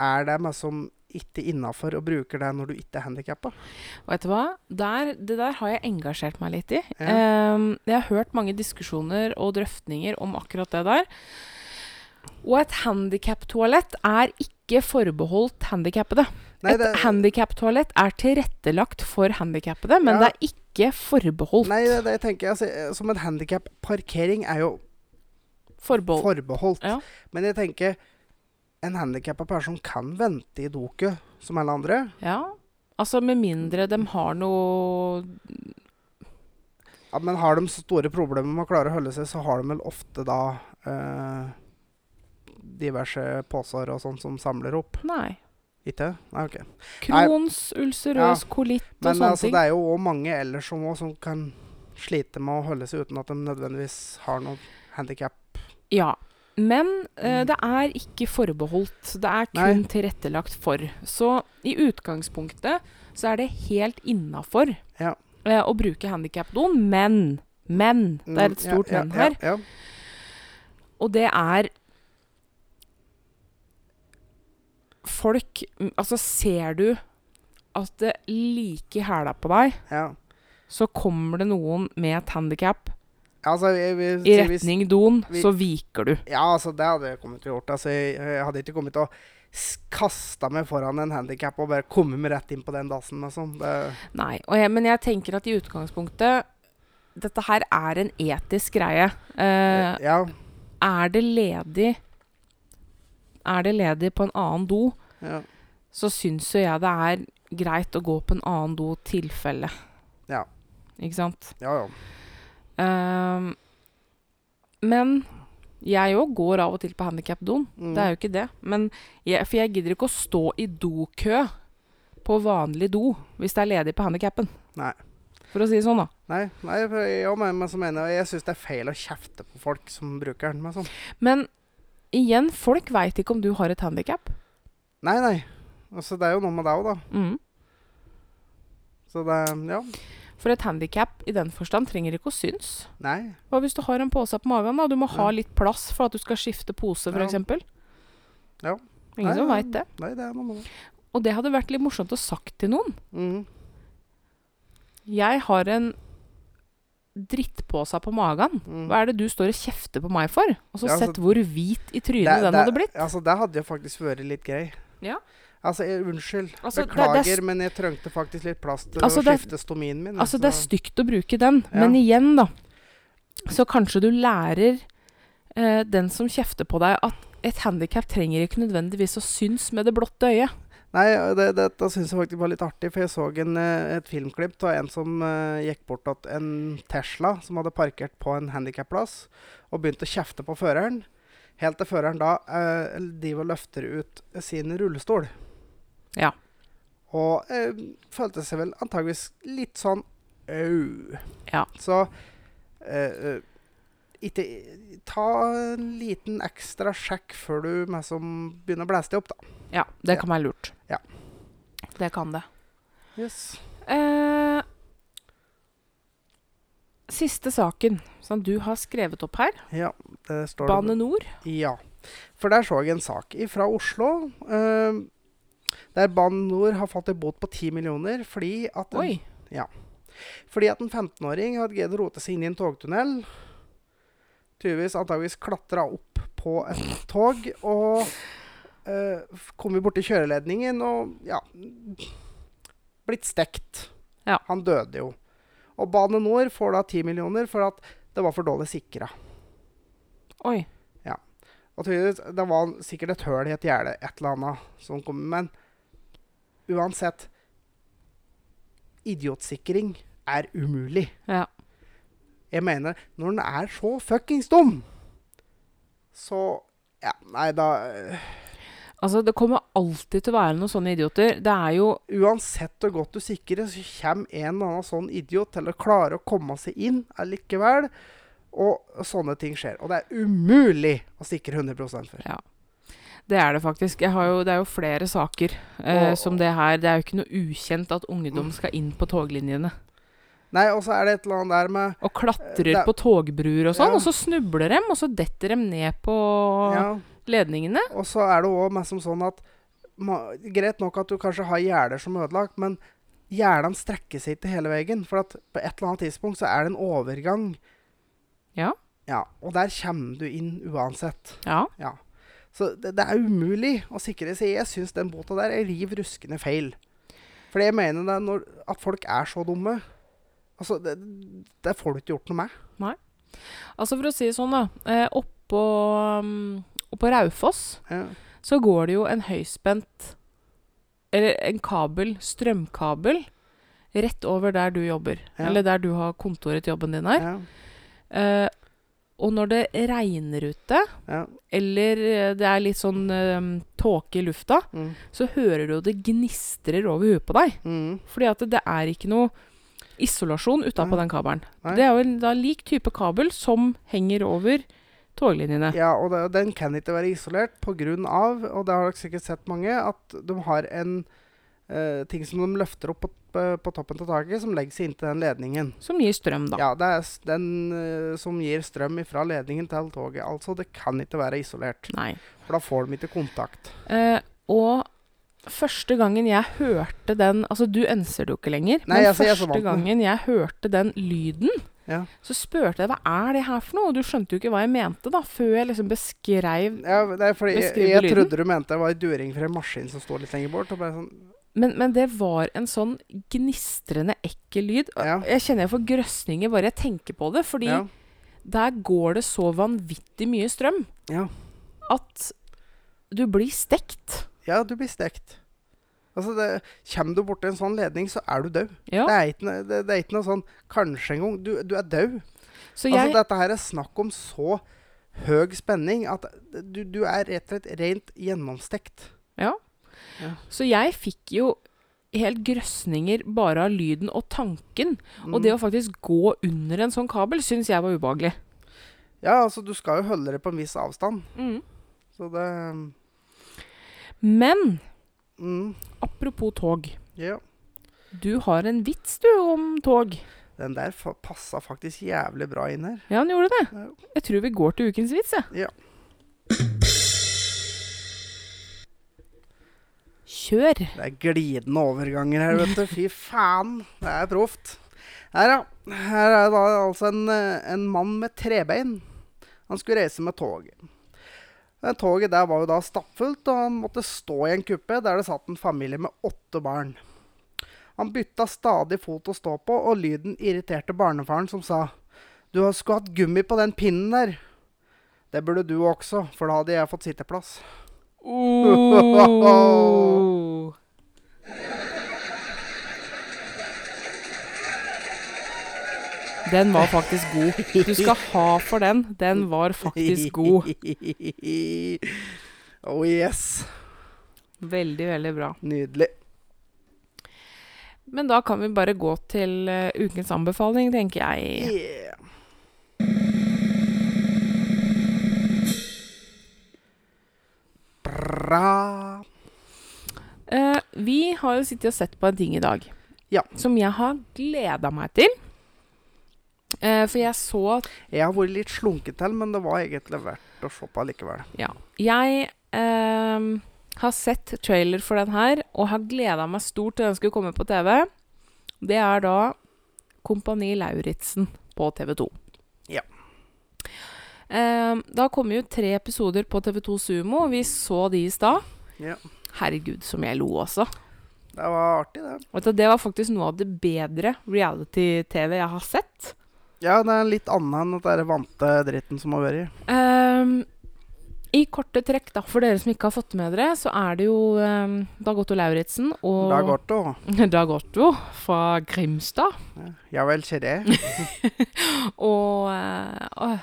[SPEAKER 1] er det meg som ikke innafor og bruker det når du ikke er handikappa?
[SPEAKER 2] Og Vet du hva? Der, det der har jeg engasjert meg litt i.
[SPEAKER 1] Ja.
[SPEAKER 2] Ehm, jeg har hørt mange diskusjoner og drøftinger om akkurat det der. Og et handikaptoalett er ikke forbeholdt handikappede.
[SPEAKER 1] Nei,
[SPEAKER 2] et
[SPEAKER 1] det-
[SPEAKER 2] handikaptoalett er tilrettelagt for handikappede, men
[SPEAKER 1] Ja.
[SPEAKER 2] det er ikke forbeholdt.
[SPEAKER 1] Nei, det, det tenker jeg altså, eh, som en handikapparkering er jo
[SPEAKER 2] Forbehold.
[SPEAKER 1] forbeholdt.
[SPEAKER 2] Ja.
[SPEAKER 1] Men jeg tenker en handikappa person kan vente i doket som alle andre.
[SPEAKER 2] Ja. Altså, med mindre de har noe
[SPEAKER 1] Ja, men har de så store problemer med å klare å holde seg, så har de vel ofte da eh, diverse poser og sånt som samler opp.
[SPEAKER 2] Nei.
[SPEAKER 1] Ikke? Nei, ok.
[SPEAKER 2] Crohns, ulcerøs kolitt og
[SPEAKER 1] Men
[SPEAKER 2] sånne
[SPEAKER 1] altså,
[SPEAKER 2] ting.
[SPEAKER 1] det er jo òg mange ellers som, også, som kan slite med å holde seg uten at de nødvendigvis har noe handikap.
[SPEAKER 2] Ja. Men eh,
[SPEAKER 1] Mm.
[SPEAKER 2] det er ikke forbeholdt. Det er kun
[SPEAKER 1] Nei.
[SPEAKER 2] tilrettelagt for. Så i utgangspunktet så er det helt innafor
[SPEAKER 1] Ja.
[SPEAKER 2] eh, å bruke handikapdoen, men Men! Det er et stort
[SPEAKER 1] Mm, ja,
[SPEAKER 2] men
[SPEAKER 1] ja,
[SPEAKER 2] her.
[SPEAKER 1] Ja,
[SPEAKER 2] Og det er Folk mm, Altså, ser du at det like i hæla på deg,
[SPEAKER 1] ja, ja.
[SPEAKER 2] så kommer det noen med et handikap
[SPEAKER 1] Altså, jeg, vil
[SPEAKER 2] i
[SPEAKER 1] si hvis-
[SPEAKER 2] retning doen,
[SPEAKER 1] vi-
[SPEAKER 2] så viker du.
[SPEAKER 1] Ja, altså, det hadde jeg kommet til å gjort. Altså, jeg, jeg hadde ikke kommet til å s- kasta meg foran en handikap og bare kommet meg rett inn på den dassen. Liksom. Det,
[SPEAKER 2] Nei, og jeg, men jeg tenker at i utgangspunktet Dette her er en etisk greie. Eh,
[SPEAKER 1] ja,
[SPEAKER 2] er det ledig Er det ledig på en annen do,
[SPEAKER 1] ja.
[SPEAKER 2] så syns jo jeg det er greit å gå på en annen do tilfelle.
[SPEAKER 1] Ja.
[SPEAKER 2] Ikke sant?
[SPEAKER 1] Ja, ja.
[SPEAKER 2] Eh, men jeg òg går av og til på handikapdoen.
[SPEAKER 1] Mm.
[SPEAKER 2] Det er jo ikke det. Men jeg, for jeg gidder ikke å stå i dokø på vanlig do hvis det er ledig på handikappen.
[SPEAKER 1] Nei.
[SPEAKER 2] For å si det sånn, da.
[SPEAKER 1] Nei, nei for jeg, og meg- men så mener jeg, jeg syns det er feil å kjefte på folk som bruker den. men Sånn.
[SPEAKER 2] Men igjen, folk veit ikke om du har et handikap.
[SPEAKER 1] Nei, nei. Altså, det er jo noe med deg òg, da.
[SPEAKER 2] Mm.
[SPEAKER 1] Så det Ja.
[SPEAKER 2] For et handikap i den forstand trenger ikke å syns.
[SPEAKER 1] Nei.
[SPEAKER 2] Hva hvis du har en pose på magen? da? Du må ha
[SPEAKER 1] Ja.
[SPEAKER 2] litt plass for at du skal skifte pose,
[SPEAKER 1] Ja.
[SPEAKER 2] f.eks.
[SPEAKER 1] Ja.
[SPEAKER 2] Ingen
[SPEAKER 1] Nei,
[SPEAKER 2] som
[SPEAKER 1] nei.
[SPEAKER 2] veit det.
[SPEAKER 1] Nei, det er noe med det.
[SPEAKER 2] Og det hadde vært litt morsomt å sagt til noen.
[SPEAKER 1] Mhm.
[SPEAKER 2] Jeg har en drittpose på magen.
[SPEAKER 1] Mhm.
[SPEAKER 2] Hva er det du står og kjefter på meg for? Og så
[SPEAKER 1] Ja, altså-
[SPEAKER 2] sett hvor hvit i trynet den hadde blitt.
[SPEAKER 1] Altså, det hadde jo faktisk vært litt grei.
[SPEAKER 2] Ja.
[SPEAKER 1] Altså, jeg, unnskyld.
[SPEAKER 2] Altså, det- det er
[SPEAKER 1] Beklager,
[SPEAKER 2] st-
[SPEAKER 1] men jeg trengte faktisk litt plass til
[SPEAKER 2] Altså,
[SPEAKER 1] å
[SPEAKER 2] det er-
[SPEAKER 1] skifte stomien min.
[SPEAKER 2] Altså, det er
[SPEAKER 1] så-
[SPEAKER 2] stygt å bruke den,
[SPEAKER 1] Ja.
[SPEAKER 2] men igjen, da, så kanskje du lærer eh, den som kjefter på deg, at et handikap trenger ikke nødvendigvis å synes med det blotte øyet.
[SPEAKER 1] Nei, det, det, det syns jeg faktisk var litt artig, for jeg så en, eh, et filmklipp av en som eh, gikk bort til en Tesla som hadde parkert på en handikapplass, og begynte å kjefte på føreren. Helt til føreren da eh, driver og løfter ut sin rullestol.
[SPEAKER 2] Ja.
[SPEAKER 1] Og eh, følte seg vel antageligvis litt sånn au.
[SPEAKER 2] Ja.
[SPEAKER 1] Så eh, eh, ikke Ta en liten ekstra sjekk før du med som begynner å blæse deg opp, da.
[SPEAKER 2] Ja, det kan være lurt.
[SPEAKER 1] Ja.
[SPEAKER 2] Det kan det.
[SPEAKER 1] Yes.
[SPEAKER 2] Eh, siste saken som du har skrevet opp her,
[SPEAKER 1] Ja, det står det.
[SPEAKER 2] Bane Nor.
[SPEAKER 1] Ja, for der så jeg en sak fra Oslo. eh, der Bane Nor har fått en bot på 10 millioner fordi at en,
[SPEAKER 2] Oi.
[SPEAKER 1] fordi at en 15-åring hadde greid å rote seg inn i en togtunnel. Tydeligvis antageligvis klatra opp på et tog og eh, kom vi borti kjøreledningen og ja blitt stekt.
[SPEAKER 2] Ja.
[SPEAKER 1] Han døde jo. Og Bane Nor får da 10 millioner for at det var for dårlig sikra.
[SPEAKER 2] Oi.
[SPEAKER 1] Og tydeligvis, det var sikkert et høl i et gjerde, et eller annet som kom. Men uansett Idiotsikring er umulig.
[SPEAKER 2] Ja.
[SPEAKER 1] Jeg mener, når den er så fuckings dum, så Ja, nei, da øh,
[SPEAKER 2] Altså, det kommer alltid til å være noen sånne idioter. Det er jo
[SPEAKER 1] Uansett hvor godt du sikrer, så kommer en eller annen sånn idiot til å klare å komme seg inn allikevel. Og sånne ting skjer. Og det er umulig å sikre 100 for.
[SPEAKER 2] Ja. Det er det faktisk. Jeg har jo, det er jo flere saker eh,
[SPEAKER 1] Og-
[SPEAKER 2] som det her. Det er jo ikke noe ukjent at ungdom skal inn på toglinjene.
[SPEAKER 1] Nei, og så er det et eller annet der med
[SPEAKER 2] Og klatrer
[SPEAKER 1] Eh, det er-
[SPEAKER 2] på togbruer og sånn.
[SPEAKER 1] Ja.
[SPEAKER 2] Og så snubler dem, og så detter dem ned på
[SPEAKER 1] ja.
[SPEAKER 2] ledningene.
[SPEAKER 1] Og så er det òg mest som sånn at ma- Greit nok at du kanskje har gjerder som er ødelagt, men gjerdene strekker seg ikke hele veien. For at på et eller annet tidspunkt så er det en overgang.
[SPEAKER 2] Ja.
[SPEAKER 1] Ja, Og der kommer du inn uansett.
[SPEAKER 2] Ja.
[SPEAKER 1] Så det, det er umulig å sikre seg. Jeg syns den bota der er riv ruskende feil. For jeg mener det er når, at folk er så dumme. Altså, det, det får du ikke gjort noe med.
[SPEAKER 2] Altså for å si det sånn, da. Eh, oppå, mm, oppå Raufoss
[SPEAKER 1] Ja.
[SPEAKER 2] så går det jo en høyspent Eller en kabel, strømkabel, rett over der du jobber.
[SPEAKER 1] Ja.
[SPEAKER 2] Eller der du har kontoret til jobben din her.
[SPEAKER 1] Ja.
[SPEAKER 2] Eh, og når det regner ute,
[SPEAKER 1] Ja.
[SPEAKER 2] eller eh, det er litt sånn eh, tåke i lufta,
[SPEAKER 1] Mm.
[SPEAKER 2] så hører du jo det gnistrer over huet på deg.
[SPEAKER 1] Mm.
[SPEAKER 2] Fordi at det er ikke noe isolasjon utapå
[SPEAKER 1] Nei.
[SPEAKER 2] den kabelen.
[SPEAKER 1] Nei.
[SPEAKER 2] Det er jo en da, lik type kabel som henger over toglinjene.
[SPEAKER 1] Ja, og det, den kan ikke være isolert pga., og det har dere sikkert sett mange, at de har en eh, ting som de løfter opp på, på, på toppen av taket, som legger seg inntil den ledningen.
[SPEAKER 2] Som gir strøm, da.
[SPEAKER 1] Ja, det er s- den eh, som gir strøm fra ledningen til toget. Altså, det kan ikke være isolert,
[SPEAKER 2] Nei.
[SPEAKER 1] for da får de ikke kontakt.
[SPEAKER 2] Eh, og første gangen jeg hørte den Altså, du ønsker det jo ikke lenger.
[SPEAKER 1] Nei,
[SPEAKER 2] men
[SPEAKER 1] altså, jeg er så
[SPEAKER 2] første
[SPEAKER 1] vant med
[SPEAKER 2] gangen jeg hørte den lyden,
[SPEAKER 1] Ja.
[SPEAKER 2] så spurte jeg hva er det her for noe? Og du skjønte jo ikke hva jeg mente, da, før jeg liksom beskrev
[SPEAKER 1] Ja, det er fordi jeg,
[SPEAKER 2] Beskriv
[SPEAKER 1] jeg
[SPEAKER 2] lyden.
[SPEAKER 1] trodde du mente det var en during fra en maskin som sto litt lenger bort. og bare sånn,
[SPEAKER 2] men, men det var en sånn gnistrende ekkel lyd. Og
[SPEAKER 1] Ja.
[SPEAKER 2] Jeg kjenner jeg får grøsninger bare jeg tenker på det, fordi
[SPEAKER 1] ja,
[SPEAKER 2] der går det så vanvittig mye strøm
[SPEAKER 1] Ja.
[SPEAKER 2] at du blir stekt.
[SPEAKER 1] ja, du blir stekt. Altså, det, kommer du borti en sånn ledning, så er du død.
[SPEAKER 2] Ja.
[SPEAKER 1] Det, er ikke, noe- det, det er ikke noe sånn kanskje en gang. Du, du er død.
[SPEAKER 2] Så jeg
[SPEAKER 1] Altså, dette her er snakk om så høy spenning at du, du er rett og slett rent gjennomstekt.
[SPEAKER 2] Så jeg fikk jo helt grøsninger bare av lyden og tanken. Og
[SPEAKER 1] Mm.
[SPEAKER 2] det å faktisk gå under en sånn kabel syns jeg var ubehagelig.
[SPEAKER 1] Ja, altså, du skal jo holde det på en viss avstand. Så det
[SPEAKER 2] Men
[SPEAKER 1] mm,
[SPEAKER 2] apropos tog.
[SPEAKER 1] Ja.
[SPEAKER 2] Du har en vits, du, om tog.
[SPEAKER 1] Den der fa- passa faktisk jævlig bra inn her.
[SPEAKER 2] Ja, han gjorde det.
[SPEAKER 1] Ja.
[SPEAKER 2] Jeg tror vi går til ukens vits, jeg.
[SPEAKER 1] Ja.
[SPEAKER 2] Kjør.
[SPEAKER 1] Det er glidende overganger her, vet du. Fy faen. Det er proft. Her, ja. Her er da altså en, eh, en mann med trebein. Han skulle reise med toget. Det toget der var jo da stappfullt, og han måtte stå i en kuppe der det satt en familie med åtte barn. Han bytta stadig fot å stå på, og lyden irriterte barnefaren, som sa Du har skulle hatt gummi på den pinnen der. Det burde du også, for da hadde jeg fått sitteplass.
[SPEAKER 2] Oh. Den var faktisk god. Du skal ha for den. Den var faktisk god.
[SPEAKER 1] oh yes.
[SPEAKER 2] Veldig, veldig bra.
[SPEAKER 1] Nydelig.
[SPEAKER 2] Men da kan vi bare gå til eh, ukens anbefaling, tenker jeg.
[SPEAKER 1] Yeah. Bra.
[SPEAKER 2] Eh, vi har jo sittet og sett på en ting i dag
[SPEAKER 1] Ja.
[SPEAKER 2] som jeg har gleda meg til. Eh, for jeg så
[SPEAKER 1] Jeg har vært litt slunket til, men det var egentlig verdt å se på likevel.
[SPEAKER 2] Ja. Jeg ehm, har sett trailer for den her, og har gleda meg stort til den skulle komme på TV. Det er da Kompani Lauritzen på TV 2.
[SPEAKER 1] Ja.
[SPEAKER 2] Ehm, da kommer jo tre episoder på TV 2 Sumo. Vi så de i stad.
[SPEAKER 1] Ja.
[SPEAKER 2] Herregud, som jeg lo også.
[SPEAKER 1] Det var artig, det.
[SPEAKER 2] Vet du, det var faktisk noe av det bedre reality-TV jeg har sett.
[SPEAKER 1] Ja, det er litt annet enn at det er vante dritten som har vært i.
[SPEAKER 2] Ehm, I korte trekk, da, for dere som ikke har fått med dere, så er det jo um, Dag Otto Lauritzen og
[SPEAKER 1] Det er godt òg.
[SPEAKER 2] Dag Otto fra Grimstad.
[SPEAKER 1] Ja vel, kjære.
[SPEAKER 2] Og eh, åh,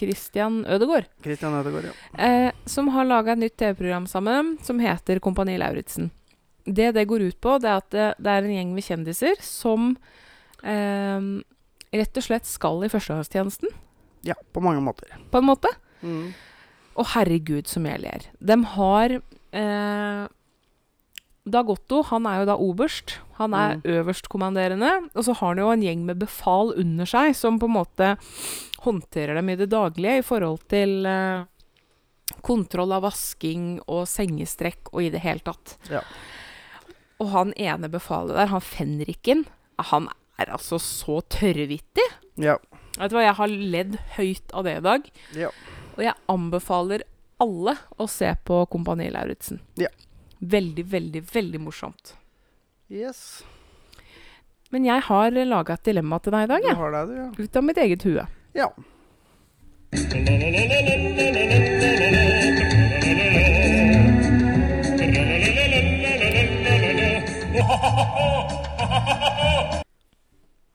[SPEAKER 2] Christian Ødegaard.
[SPEAKER 1] Kristian Ødegaard, ja.
[SPEAKER 2] Eh, som har laga et nytt TV-program sammen som heter Kompani Lauritzen. Det det går ut på, det er at eh, det, det er en gjeng med kjendiser som eh, rett og slett skal i førstegangstjenesten,
[SPEAKER 1] Ja, på mange måter.
[SPEAKER 2] på en måte.
[SPEAKER 1] Mm.
[SPEAKER 2] Å, herregud, som jeg ler. De har eh, Dag Otto, han er jo da oberst. Han er
[SPEAKER 1] Mm.
[SPEAKER 2] øverstkommanderende. Og så har han jo en gjeng med befal under seg, som på en måte håndterer dem i det daglige i forhold til eh, kontroll av vasking og sengestrekk og i det hele tatt.
[SPEAKER 1] Ja.
[SPEAKER 2] Og han ene befalet der, han fenriken, han er altså så tørrvittig.
[SPEAKER 1] Ja.
[SPEAKER 2] Vet du hva, jeg har ledd høyt av det i dag.
[SPEAKER 1] Ja.
[SPEAKER 2] Og jeg anbefaler alle å se på Kompani Lauritzen.
[SPEAKER 1] Ja.
[SPEAKER 2] Veldig, veldig, veldig morsomt.
[SPEAKER 1] Yes.
[SPEAKER 2] Men jeg har laga et dilemma til deg i dag,
[SPEAKER 1] Du
[SPEAKER 2] jeg.
[SPEAKER 1] har det, du, ja.
[SPEAKER 2] Ut av mitt eget hue.
[SPEAKER 1] Ja.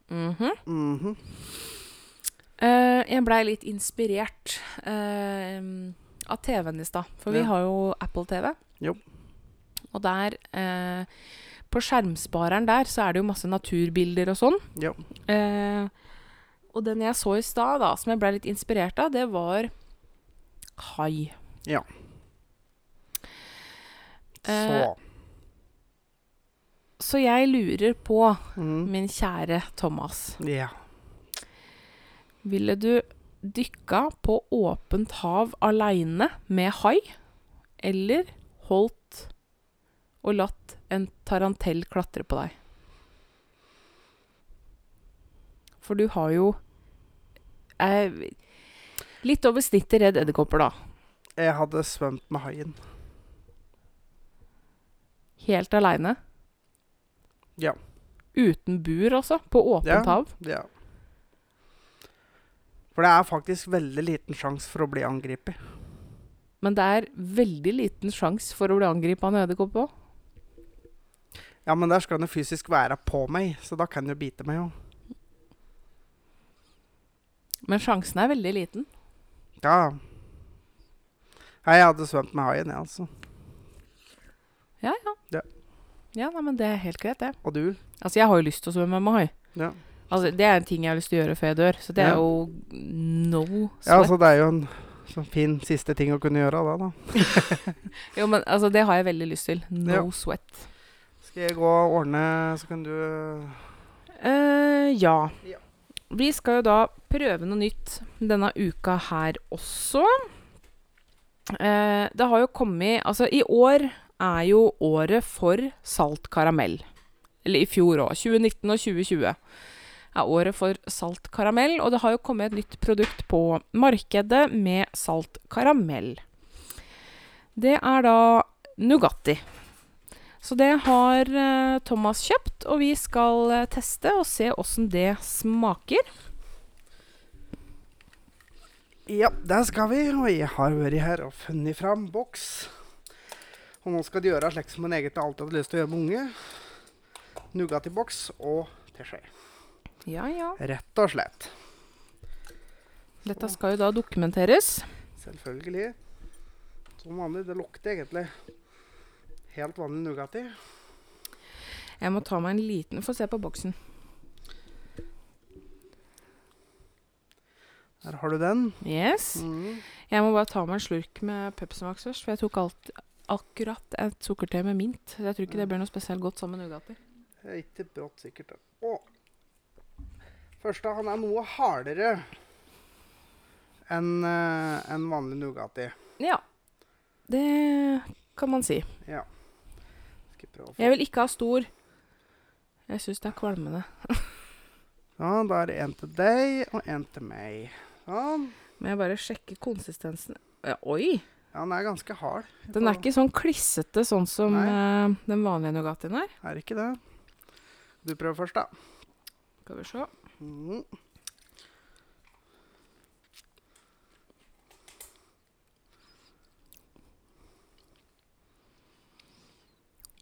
[SPEAKER 2] Mhm.
[SPEAKER 1] Mhm.
[SPEAKER 2] Eh, jeg blei litt inspirert eh, av TV-en i stad, for vi
[SPEAKER 1] Ja.
[SPEAKER 2] har jo Apple TV.
[SPEAKER 1] Jo.
[SPEAKER 2] Og der eh, På skjermspareren der så er det jo masse naturbilder og sånn.
[SPEAKER 1] Ja.
[SPEAKER 2] Eh, og den jeg så i stad, da, som jeg blei litt inspirert av, det var hai.
[SPEAKER 1] Ja.
[SPEAKER 2] Eh,
[SPEAKER 1] Så.
[SPEAKER 2] så jeg lurer på,
[SPEAKER 1] Mm.
[SPEAKER 2] min kjære Thomas
[SPEAKER 1] Ja.
[SPEAKER 2] Ville du dykka på åpent hav aleine med hai, eller holdt og latt en tarantell klatre på deg? For du har jo eh, Litt over snittet redd edderkopper, da.
[SPEAKER 1] Jeg hadde svømt med haien.
[SPEAKER 2] Helt aleine.
[SPEAKER 1] Ja.
[SPEAKER 2] Uten bur, altså. På åpent
[SPEAKER 1] Ja.
[SPEAKER 2] hav.
[SPEAKER 1] Ja. For det er faktisk veldig liten sjanse for å bli angrepet.
[SPEAKER 2] Men det er veldig liten sjanse for å bli angrepet av en edderkopp òg.
[SPEAKER 1] Ja, men der skal den jo fysisk være på meg, så da kan den jo bite meg jo.
[SPEAKER 2] Men sjansen er veldig liten.
[SPEAKER 1] Ja. Nei, jeg hadde svømt med haien, jeg, altså.
[SPEAKER 2] Ja, nei, men det er helt greit, det.
[SPEAKER 1] Og du?
[SPEAKER 2] Altså, jeg har jo lyst til å svømme med hai.
[SPEAKER 1] Ja.
[SPEAKER 2] Altså, det er en ting jeg har lyst til å gjøre før jeg dør, så det
[SPEAKER 1] Ja.
[SPEAKER 2] er jo no sweat.
[SPEAKER 1] Ja, altså, det er jo en sånn fin siste ting å kunne gjøre da, da.
[SPEAKER 2] Jo, men altså, det har jeg veldig lyst til. No
[SPEAKER 1] Ja.
[SPEAKER 2] sweat.
[SPEAKER 1] Skal jeg gå og ordne, så kan du
[SPEAKER 2] Eh, ja.
[SPEAKER 1] Ja.
[SPEAKER 2] Vi skal jo da prøve noe nytt denne uka her også. Eh, det har jo kommet Altså, i år er jo året for salt karamell. Eller i fjor òg. 2019 og 2020 er året for salt karamell. Og det har jo kommet et nytt produkt på markedet med salt karamell. Det er da Nugatti. Så det har eh, Thomas kjøpt, og vi skal eh, teste og se åssen det smaker.
[SPEAKER 1] Ja, der skal vi. Og jeg har vært her og funnet fram boks. Og nå skal de gjøre slik som en egentlig alltid hadde lyst til å gjøre med unge. Nougat i boks og teskje.
[SPEAKER 2] Ja, ja.
[SPEAKER 1] Rett og slett.
[SPEAKER 2] Dette skal jo da dokumenteres.
[SPEAKER 1] Selvfølgelig. Som vanlig. Det lukter egentlig helt vanlig Nugatti.
[SPEAKER 2] Jeg må ta meg en liten Få se på boksen.
[SPEAKER 1] Der har du den.
[SPEAKER 2] Yes.
[SPEAKER 1] Mm.
[SPEAKER 2] Jeg må bare ta meg en slurk med Pepsi Max først, for jeg tok alt, akkurat et sukkerte med mint. Jeg tror ikke det blir noe spesielt godt sammen med Nugatti.
[SPEAKER 1] Det er ikke brått sikkert. da. Å. Første, han er noe hardere enn eh, enn vanlig Nugatti.
[SPEAKER 2] Ja. Det kan man si.
[SPEAKER 1] Ja. Skal jeg prøve å få
[SPEAKER 2] Jeg vil ikke ha stor. Jeg syns det er kvalmende.
[SPEAKER 1] Ja, Sånn, da er det en til deg og en til meg. Sånn.
[SPEAKER 2] Men jeg bare sjekker konsistensen. Ja, oi!
[SPEAKER 1] Ja, den er ganske hard.
[SPEAKER 2] Den er ikke sånn klissete sånn som eh, den vanlige Nugattien er.
[SPEAKER 1] Er ikke det. Du prøver først, da.
[SPEAKER 2] Skal vi se.
[SPEAKER 1] Mm.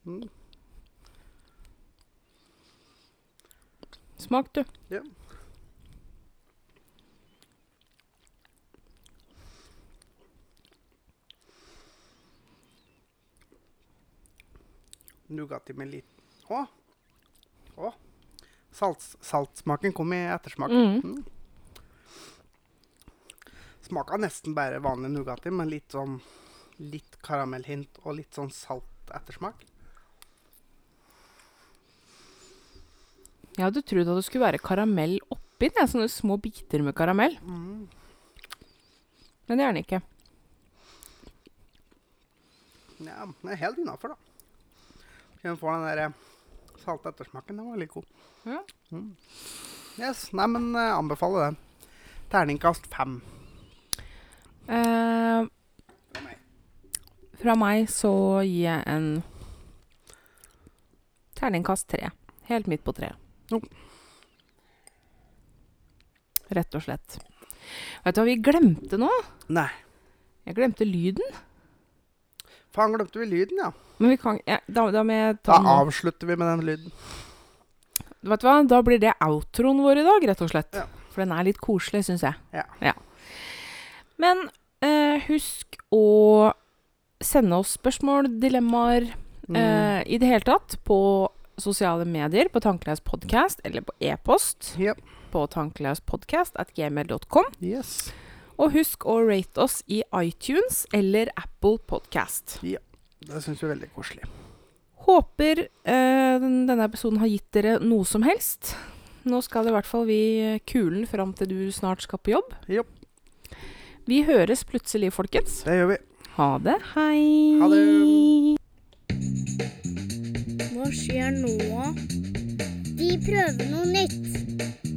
[SPEAKER 1] Mm.
[SPEAKER 2] Smak, du.
[SPEAKER 1] Ja. Nugatti med litt Å! Å. Salt, saltsmaken kom i ettersmak.
[SPEAKER 2] Mm.
[SPEAKER 1] Mm. Smaka nesten bare vanlig Nugatti, men litt sånn litt karamellhint og litt sånn salt ettersmak.
[SPEAKER 2] Jeg hadde trodd at det skulle være karamell oppi det. Sånne små biter med karamell.
[SPEAKER 1] Mm.
[SPEAKER 2] Men det er den ikke.
[SPEAKER 1] Ja, den er helt innafor, da. Kjenner får den der eh, salte ettersmaken. Den var litt god.
[SPEAKER 2] Ja.
[SPEAKER 1] Mm. Yes, Nei, men eh, anbefaler den. Terningkast fem.
[SPEAKER 2] Eh, fra meg så gir jeg en terningkast tre. Helt midt på treet.
[SPEAKER 1] Jo.
[SPEAKER 2] Rett og slett. Vet du hva vi glemte nå?
[SPEAKER 1] Nei.
[SPEAKER 2] Jeg glemte lyden.
[SPEAKER 1] Faen, glemte vi lyden, ja.
[SPEAKER 2] Men vi kan ja, da, da må jeg ta
[SPEAKER 1] Da
[SPEAKER 2] den nå.
[SPEAKER 1] avslutter vi med den lyden.
[SPEAKER 2] Vet du hva? Da blir det outroen vår i dag, rett og slett.
[SPEAKER 1] Ja.
[SPEAKER 2] For den er litt koselig, syns jeg.
[SPEAKER 1] Ja.
[SPEAKER 2] Men eh, husk å sende oss spørsmål, dilemmaer,
[SPEAKER 1] Mm.
[SPEAKER 2] eh, i det hele tatt på sosiale medier, på Tankelaus podcast, eller på e-post
[SPEAKER 1] Ja.
[SPEAKER 2] på tankelauspodcast at gmail.com.
[SPEAKER 1] Yes.
[SPEAKER 2] Og husk å rate oss i iTunes eller Apple Podcast.
[SPEAKER 1] Det syns vi er veldig koselig.
[SPEAKER 2] Håper eh, den, denne episoden har gitt dere noe som helst. Nå skal i hvert fall vi eh, kulen fram til du snart skal på jobb.
[SPEAKER 1] Jo,
[SPEAKER 2] Vi høres plutselig, folkens.
[SPEAKER 1] det gjør vi.
[SPEAKER 2] Ha det. Hei.
[SPEAKER 1] Ha det.
[SPEAKER 3] Hva skjer nå? De prøver noe nytt.